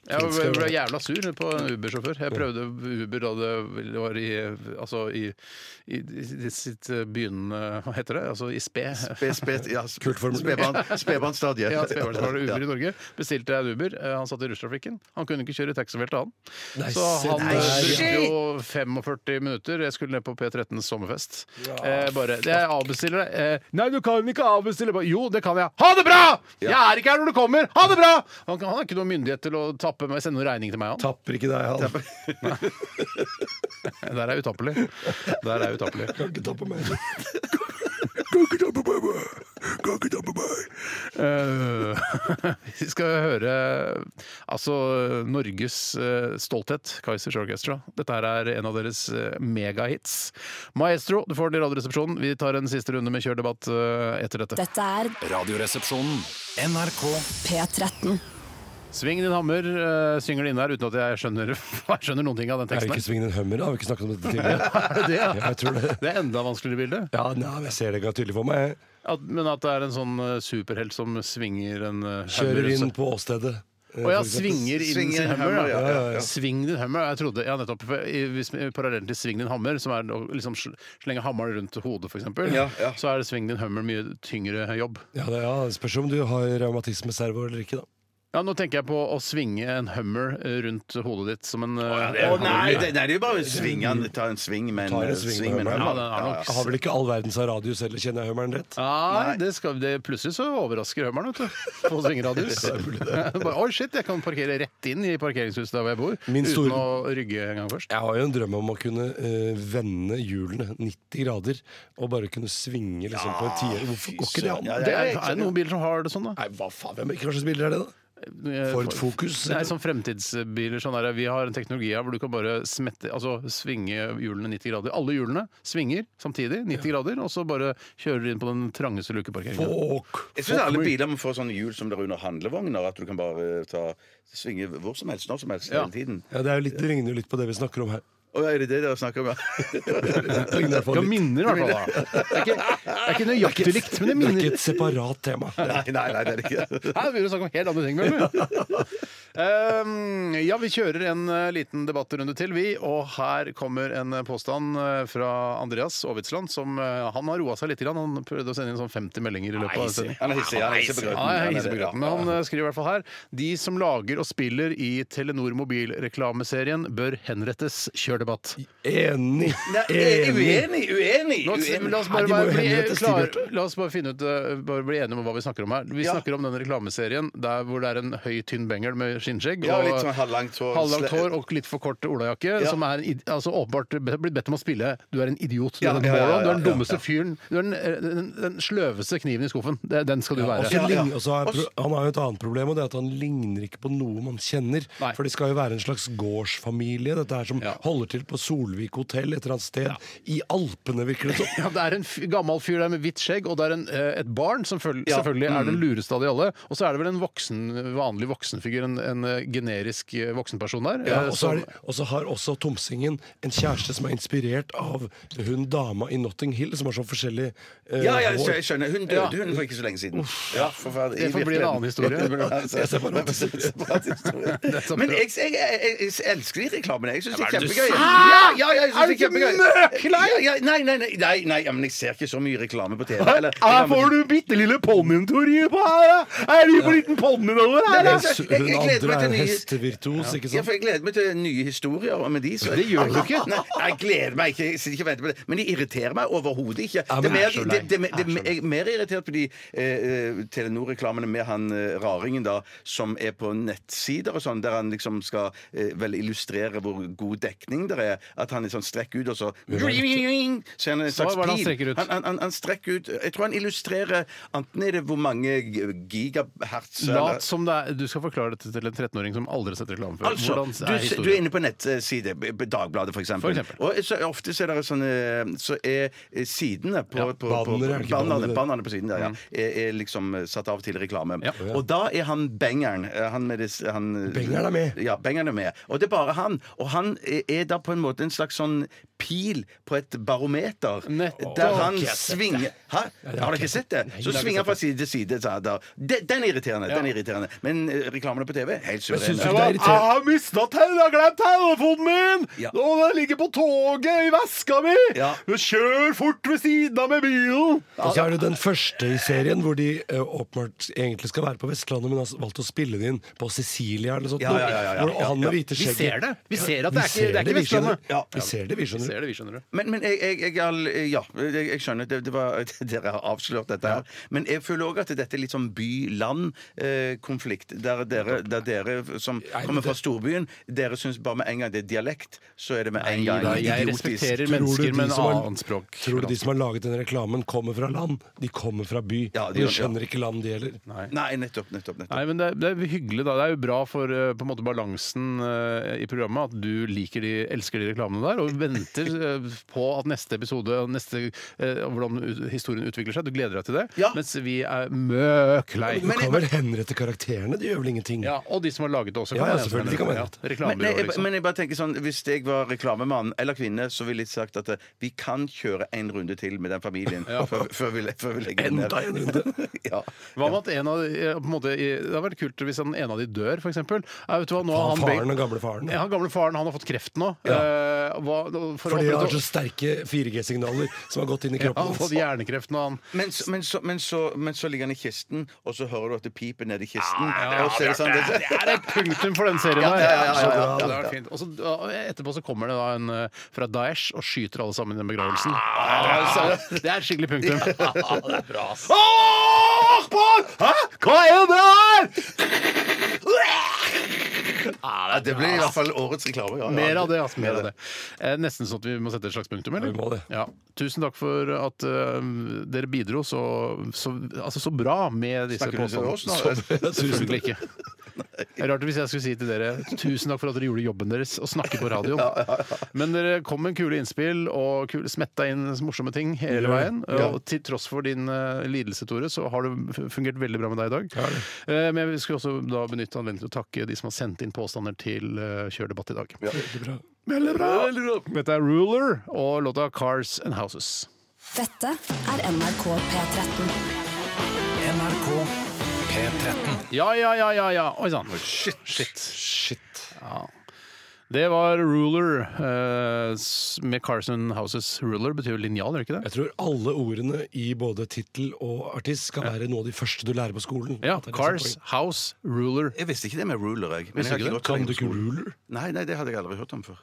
jeg ble, ble jævla sur på en Uber-sjåfør. Jeg prøvde Uber da det var i Altså i, i, i sitt eh, begynnende Hva heter det? Altså i sped. Spe- spe- ja, sp- Kult formulert. spedbarn- Spedbarnsstadiet. Ja, spedbarnsbarn og Ja. Uber i Norge. Bestilte jeg en Uber. Eh, Han satt i rushtrafikken. Han kunne ikke kjøre taxifeltet, han. Nei, Så han se der, eh, ja. brukte jo 45 minutter. Jeg skulle ned på P13s sommerfest. Eh, bare Jeg avbestiller det. Eh, nei, du kan ikke avbestille. Bare, Jo, det kan jeg. Ha det bra! Jeg er ikke her når du kommer! Ha det bra! Han, kan- han har ikke noe myndighet til å ta tappe meg, sende noen regning til meg, han. Tapper ikke deg, han. Der er jeg utappelig. Der er jeg utappelig. Kan ikke tappe meg. Eh, vi skal høre altså Norges eh, stolthet, Kaizers Orchestra. Dette her er en av deres eh, megahits. Maestro, du får det i Radioresepsjonen. Vi tar en siste runde med kjørdebatt eh, etter dette. Dette er Radioresepsjonen. NRK P13. Sving din hammer eh, synger det inn der uten at jeg skjønner, jeg skjønner noen ting av den Er teksten. det ikke her. Sving din hummer? da? Har vi ikke snakket om dette tidligere? Er det det, ja? Ja, jeg tror det. Det er enda vanskeligere bilde. Ja, nei, jeg ser det ikke tydelig for meg. At, men at det er en sånn eh, superhelt som svinger en eh, Kjører hammer, så- inn på åstedet. Å ja, svinger inn Svinger sin en hammer. hammer, ja. ja, ja, ja. Sving din hammer. Jeg trodde, ja, nettopp. for i- Hvis vi- Parallellen til sving din hammer, som er å liksom sl- slenge hammeren rundt hodet, f.eks., Ja, ja. så er det sving din hammer mye tyngre jobb. Ja, det, ja, det spørs om du har revmatismeservo eller ikke, da. Ja, Nå tenker jeg på å svinge en hummer eh, rundt hodet ditt som en eh, Å nei, det, nei, det er jo bare å svinge den. Ta en sving, men Ta en eh, sving, sving, men men- Ja, hammer. den er nok Jeg har vel ikke all verdens av radius heller, kjenner jeg hummeren rett? Nei, det skal, det, plutselig så overrasker hummeren, vet du. På svingradius. Bare, Oi, shit, jeg kan parkere rett inn i parkeringshuset der hvor jeg bor. Min store- Uten å rygge en gang først. Jeg har jo en drøm om å kunne eh, vende hjulene 90 grader og bare kunne svinge liksom, på en tier. Hvorfor går ikke det an? Ja, Det er, er det noen biler som har det sånn, da? Nei, hva faen? Hvem, hva slags biler er det, da? Ford Focus? Eh, Nei, eller? sånn fremtidsbiler. Sånn der, vi har en teknologi her hvor du kan bare smette, altså, svinge hjulene 90 grader. Alle hjulene svinger samtidig, 90 grader, og så bare kjører du inn på den trangeste lukeparkeringen. Fuck! Jeg syns alle Fuck me. biler må få sånne hjul som det er under handlevogner. At du kan bare eh, ta, svinge hvor som helst, når som helst, Ja. hele tiden. Ja, det, er jo litt, det ligner jo litt på det vi snakker om her. Å, er det det dere snakker om? ja? Det ligner i hvert fall Ja, litt. minner i hvert fall. da. Det er ikke, det er ikke nøyaktig likt, men det Det er minner. ikke et separat tema. nei, nei, nei, det er det ikke. Her begynner vi å snakke om helt andre ting. Bjørn. um, ja, vi kjører en eh, liten debattrunde til, vi. Og her kommer en eh, påstand eh, fra Andreas Aavitsland, som eh, han har roa seg litt. grann. Han prøvde å sende inn sånn 50 meldinger i løpet av sendingen. Han er hissig. Han er hissig på grøten. Ah, Ja, jeg Han er hilser på det, grøten, ja. men han eh, skriver i hvert fall her De som lager og spiller i Telenor mobilreklameserien bør henrettes. Kjør debatt. Enig! Nei, jeg er Enig! uenig, uenig, La oss, uenig. la oss Nei, bare, de må jo bare bli, henrettes, de, klar, Bjarte. la oss bare finne ut eh, Bare bli enige om hva vi snakker om her. Vi Ja. snakker om den reklameserien der hvor det er en høy, tynn bengel med skinnskjegg. Ja, og- litt sånn halvlangt hår. halvlangt hår og litt for kort olajakke. Ja. Som er en id- altså, åpenbart be- blitt bedt om å spille 'Du er en idiot'. Du Ja, er en ja, ja, ja, moron, du er den ja, ja. dummeste fyren. Du er den, eh, den, den sløveste kniven i skuffen. Det, den skal du Og være. så Ja, ja. lign- og så er pro- Han har jo et annet problem, og det er at han ligner ikke på noe man kjenner. Nei. For det skal jo være en slags gårdsfamilie, dette her som Ja. holder til på Solvik hotell et eller annet sted. I Alpene, virker det som. Ja, Det er en f gammel fyr der med hvitt skjegg, og det er en, eh, et barn som føl Ja, selvfølgelig er Mm. den lureste av de alle. Og så er det vel en voksen, vanlig voksenfigur, en, en eh, generisk eh, voksenperson der. Ja, eh, og, så som- er det, og så har også Tomsingen en kjæreste som er inspirert av hun dama i Notting Hill, som har så forskjellig eh, Ja, ja, hår. jeg skjønner. Hun døde hun for ikke så lenge siden. Ja, forferdelig. Det får bli en annen historie. altså, Jeg ser bare historie. Men jeg, jeg, jeg, jeg elsker de reklamene. Jeg syns de er kjempegøye. Ja, ja, ja, jeg synes de er kjempegøye. Møklei! Ja, ja, nei, nei, nei, nei, nei, ja, men jeg ser ikke så mye reklame på TV. Eller, du bitte lille ponnien, Tore! Er du på liten ponni nå? Nei, nei, Mens jeg- jeg- Hun jeg gleder andre meg er til en nye- hestevirtuos, ikke Ja, sant? for jeg gleder meg til nye historier om de. Så... Det gjør du ikke. Nei, jeg gleder meg ikke. Jeg sitter ikke og venter på det. Men de irriterer meg overhodet ikke. Ja, det er men det mer, er så det, leit. det, det, det, jeg er mer irritert på de eh, eh, Telenor-reklamene med han eh, raringen da, som er på nettsider og sånn, der han liksom skal eh, vel illustrere hvor god dekning det er. At han liksom strekker ut, og så Så er han en Så slags hva er det han pil. strekker ut? Han, han, han, han strekker ut Jeg tror han illustrerer enten er det hvor mange gigahertz eller- Lat som det er Du skal forklare dette til en 13-åring som aldri har sett reklame før. Altså, Hvordan du, er du er historien? inne på en nettside, b- b- Dagbladet f.eks. For eksempel. Og så ofte så er det sånne Så er eh, sidene på, på, på, på bannere, er det ikke bannerne, bannere? bannerne på siden der, ja, er, er liksom eh, satt av til reklame. Ja. Og da er han bengeren. eh, Han med det, s- han, eh, Bengeren er med. Ja, bengeren er med. Og det er bare han. Og han er- er da på en måte en slags sånn pil på et barometer Nettopp. der han Ikke jeg sett svinger Hæ? Har dere ikke sett det? Så svinger han fra side til side. Så er det da. Den den er irriterende. Den er irriterende. Men eh, reklamene på TV helt synes du suverene. det er irriterende? har mista telefonen! Jeg har glemt telefonen min! Ja. Og den ligger på toget i veska mi! Ja. Kjør fort ved siden av med bilen! Og så er det den første i serien hvor de eh, åpenbart egentlig skal være på Vestlandet, men har s- valgt å spille det inn på Sicilia eller noe sånt. Ja, ja, ja, ja, ja. Hvor han med hvite Vi skjegget ser det. Vi ser at det vi er ikke, det er ikke vi, skjønner. Vestlandet. Ja, vi ser det, vi Vi skjønner. ser det, vi skjønner det. Men, men jeg, jeg, jeg, all- ja, jeg, jeg skjønner at det, det var, dere har avslørt dette her. Men jeg føler òg at dette er litt sånn by-land-konflikt. eh, Der, dere- der dere som kommer fra storbyen, dere syns bare med en gang det er dialekt, så er det med en gang da, jeg idiotisk. respekterer Tror du de mennesker med en som har- annen språk. Tror du de som har laget den reklamen, kommer fra land? De kommer fra by. Ja, de de, gjør det, ja. skjønner ikke land, de heller. Nei, nettopp, nettopp. nettopp. Nei, men det er, det er hyggelig, da. Det er jo bra for eh, på en måte balansen eh, i programmet at du liker de, elsker de reklamene der, og venter eh, på at neste episode og neste, eh, hvordan ut- historien utvikler seg. Du gleder deg til det. Ja. Mens vi er møk lei. Du kan vel henrette karakterene? Det gjør vel ingenting? Ja, og de som har laget det også. Ja, kan ja, selvfølgelig, de kan være rett. Men, nei, Reklamebyrå, jeg, liksom. men jeg bare tenker sånn, hvis jeg var reklamemann eller kvinne, så ville jeg sagt at eh, vi kan kjøre en runde til med den familien før, før, vi, før vi legger den ned. Enda en runde. ja. Hva med at en av de, eh, på en måte, i- Det hadde vært kult hvis en, en av de dør, f.eks. Vet du hva, nå har Han, han faren, begge- den gamle faren. ja, han gamle faren han har fått kreft nå. Eh, hva, for Fordi å han har opprette- så sterke 4G-signaler som har gått inn i Ja, altså. han har kroppen. fått hjernekreft nå, han. men, så- men, så, men, så, men så ligger han i kisten, og så hører du at det piper nedi kisten. og så er det sånn, det, Det er et punktum for den serien der. ja, ja, ja, ja, ja. Det hadde vært fint. Og så, da, etterpå så kommer det da en eh, fra Daesh og skyter alle sammen i den begravelsen. Så Det er et skikkelig punktum. det er bra. Hæ? Hva er det her?! Ja, det blir i hvert fall årets reklame. Ja, ja. Mer av det, altså. Mer av det. Eh, nesten sånn at vi må sette et slags punktum, eller? Ja, vi må det. Ja. Tusen takk for at eh, dere bidro så, så, altså, så bra med disse Snakker du til oss nå? Så- Selvfølgelig ikke. Rart hvis jeg skulle si til dere tusen takk for at dere gjorde jobben deres og snakket på radioen. Men dere kom med kule innspill og kule, smetta inn morsomme ting hele veien. Og til tross for din eh, lidelse, Tore, så har det f- fungert veldig bra med deg i dag. Eh, men jeg skulle også da benytte anledningen til å takke de som har sendt inn påstander til eh, Kjørdebatt i dag. Veldig bra. Dette er Ruler og låta Cars and Houses. Dette er NRK P13. NRK P13. Ja, ja, ja, ja, ja. Oi sann. Shit. Ja. Det var ruler eh, s- med Carson Houses. Ruler betyr jo linjal, gjør det ikke det? Jeg tror alle ordene i både tittel og artist skal være noe av de første du lærer på skolen. Ja. At det er liksom Cars, house, ruler. Jeg visste ikke det med ruler, jeg. Men jeg Visste har ikke ikke det? gått så Kan lenge du på ikke skolen. ruler? Nei, nei, det hadde jeg aldri hørt om før.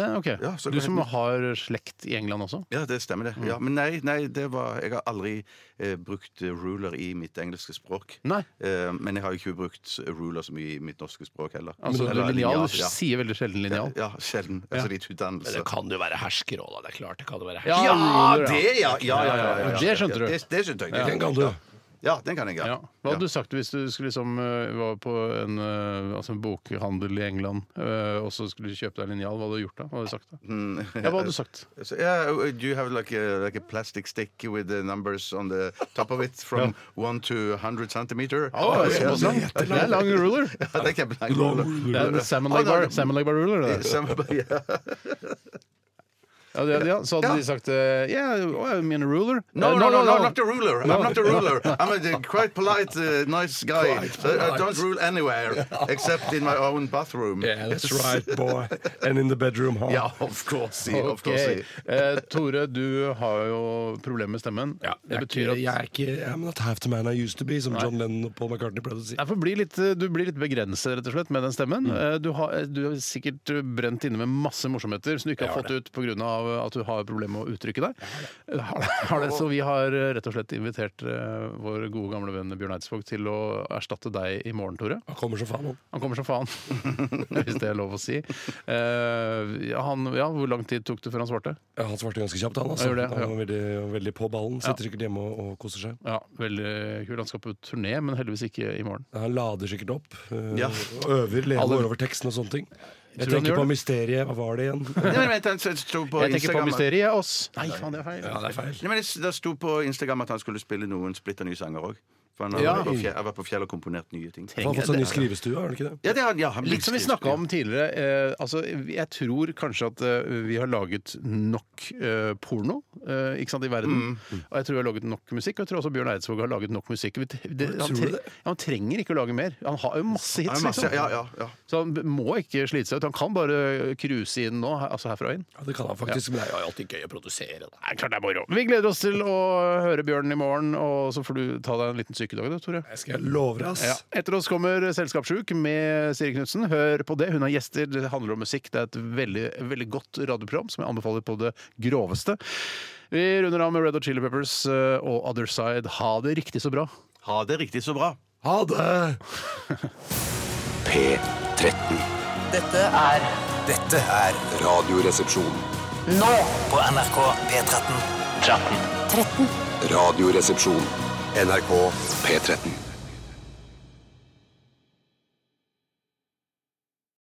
Ja, ok. Ja, så du kan som jeg- har slekt i England også? Ja, det stemmer det. Mm. Ja, men nei, nei det var, jeg har aldri eh, brukt ruler i mitt engelske språk. Nei. Eh, men jeg har jo ikke brukt ruler så mye i mitt norske språk heller. Altså, Eller linjal linjal, du sier veldig sjelden linjal. Ja, sjelden. Altså litt utdannelse. kan jo være hersker òg, da. Det er klart det kan jo være Ja, Ja, ruler, det, ja. ja! ja, ja, ja, ja, ja. Det skjønte du. Det, det skjønte jeg. det Den skjønte kan du. jeg. Ja, den kan jeg, Ja. ja. Hva hadde du sagt hvis du skulle liksom eh, var på en, eh, altså en bokhandel i England eh, og så skulle du kjøpe deg en linjal? Hva hadde du gjort da? Hva hadde du sagt da? Ja, hva hadde du sagt? So, yeah, uh, do you have like a like a plastic stick with the numbers on the top of it from one to hundred centimeter? Å, det er såpass lang. Det er lang ruler. Ja, det er kjempelang Det er en salmon leg bar, salmon leg bar ruler. Det. der. Sammenlegg. Ja, det, ja. Så hadde Ja. de sagt eh, Yeah, oh, I mean a ruler? No, Eh, no, no, no, I'm not the ruler. I'm not the ruler. I'm a the quite polite, uh, nice guy. So I don't rule anywhere except in my own bathroom. Yeah, that's right, boy. And in the bedroom, huh? Yeah, of course, yeah, of Ok. course. yeah. Eh, Tore, du har jo problemer med stemmen. det betyr at Jeg er ikke I'm not half the man I used to be, som John Lennon og Paul McCartney pleide å si. Nei, for bli litt, eh, Du blir litt begrenset rett og slett med den stemmen. Mm. Eh, Du, har, eh, du har sikkert eh, brent inne med masse morsomheter som du ikke har fått ut pga. eh, at du har problemer med å uttrykke deg. Eh, Har det. Har det, så vi har eh, rett og slett invitert eh, vår gode gamle venn Bjørn Eidsvåg til å erstatte deg i morgen, Tore. Han kommer som faen, han. Han kommer som faen, hvis det er lov å si. Eh, ja, han, ja, hvor lang tid tok det før han svarte? Ja, Han svarte ganske kjapt, han. Han Altså. gjorde det, Han var veldig, veldig på ballen. Sitter sikkert hjemme og, og koser seg. Ja, Veldig kul. Han skal på turné, men heldigvis ikke i morgen. Han lader sikkert opp. øh, Ja. og Øver, lever Alle- går over teksten og sånne ting. Jeg Tror han tenker gjør på det? mysteriet. Hva var det igjen? Nei, men vent, han sto på Jeg tenker på Instagram at- mysteriet oss. Nei, faen, det er feil. det er feil. Nei, men det- Det sto på Instagram at han skulle spille noen splitter nye sanger òg. For han har Ja. vært på fjell, har vært på fjell og komponert nye ting. Han har fått seg ny skrivestue, har han ikke det? Ja, det har han. Ja, han blir Litt som vi skrivestue. snakka om tidligere. Eh, altså, jeg tror kanskje at eh, vi har laget nok eh, porno eh, ikke sant, i verden. Og jeg tror vi har laget nok musikk, og jeg tror også Bjørn Eidsvåg har laget nok musikk. Vi, tre- det, han, Tror du tre, det? ja, han trenger ikke å lage mer. Han har jo masse Ja, hits, masse, liksom. ja, ja, ja. Så han b- må ikke slite seg ut. Han kan bare cruise inn nå, her- altså herfra og inn. Ja, det kan han faktisk. Men det er jo alltid gøy å produsere. Nei, klart det er moro. Vi gleder oss til å høre Bjørn i morgen, og så får du ta deg en liten syk i dag, du, Tore. Jeg skal love deg, ass. Ja. Etter oss kommer Selskapssjuk med Siri Knutsen. Hør på det. Hun har gjester, det handler om musikk. Det er et veldig, veldig godt radioprogram som jeg anbefaler på det groveste. Vi runder av med Red Hot Chili Peppers eh, og Other Side. Ha det riktig så bra. Ha det riktig så bra. Ha det! P13. Dette er Dette er Radioresepsjon. nå. på NRK P13. 13. 13. Radioresepsjon. NRK P13.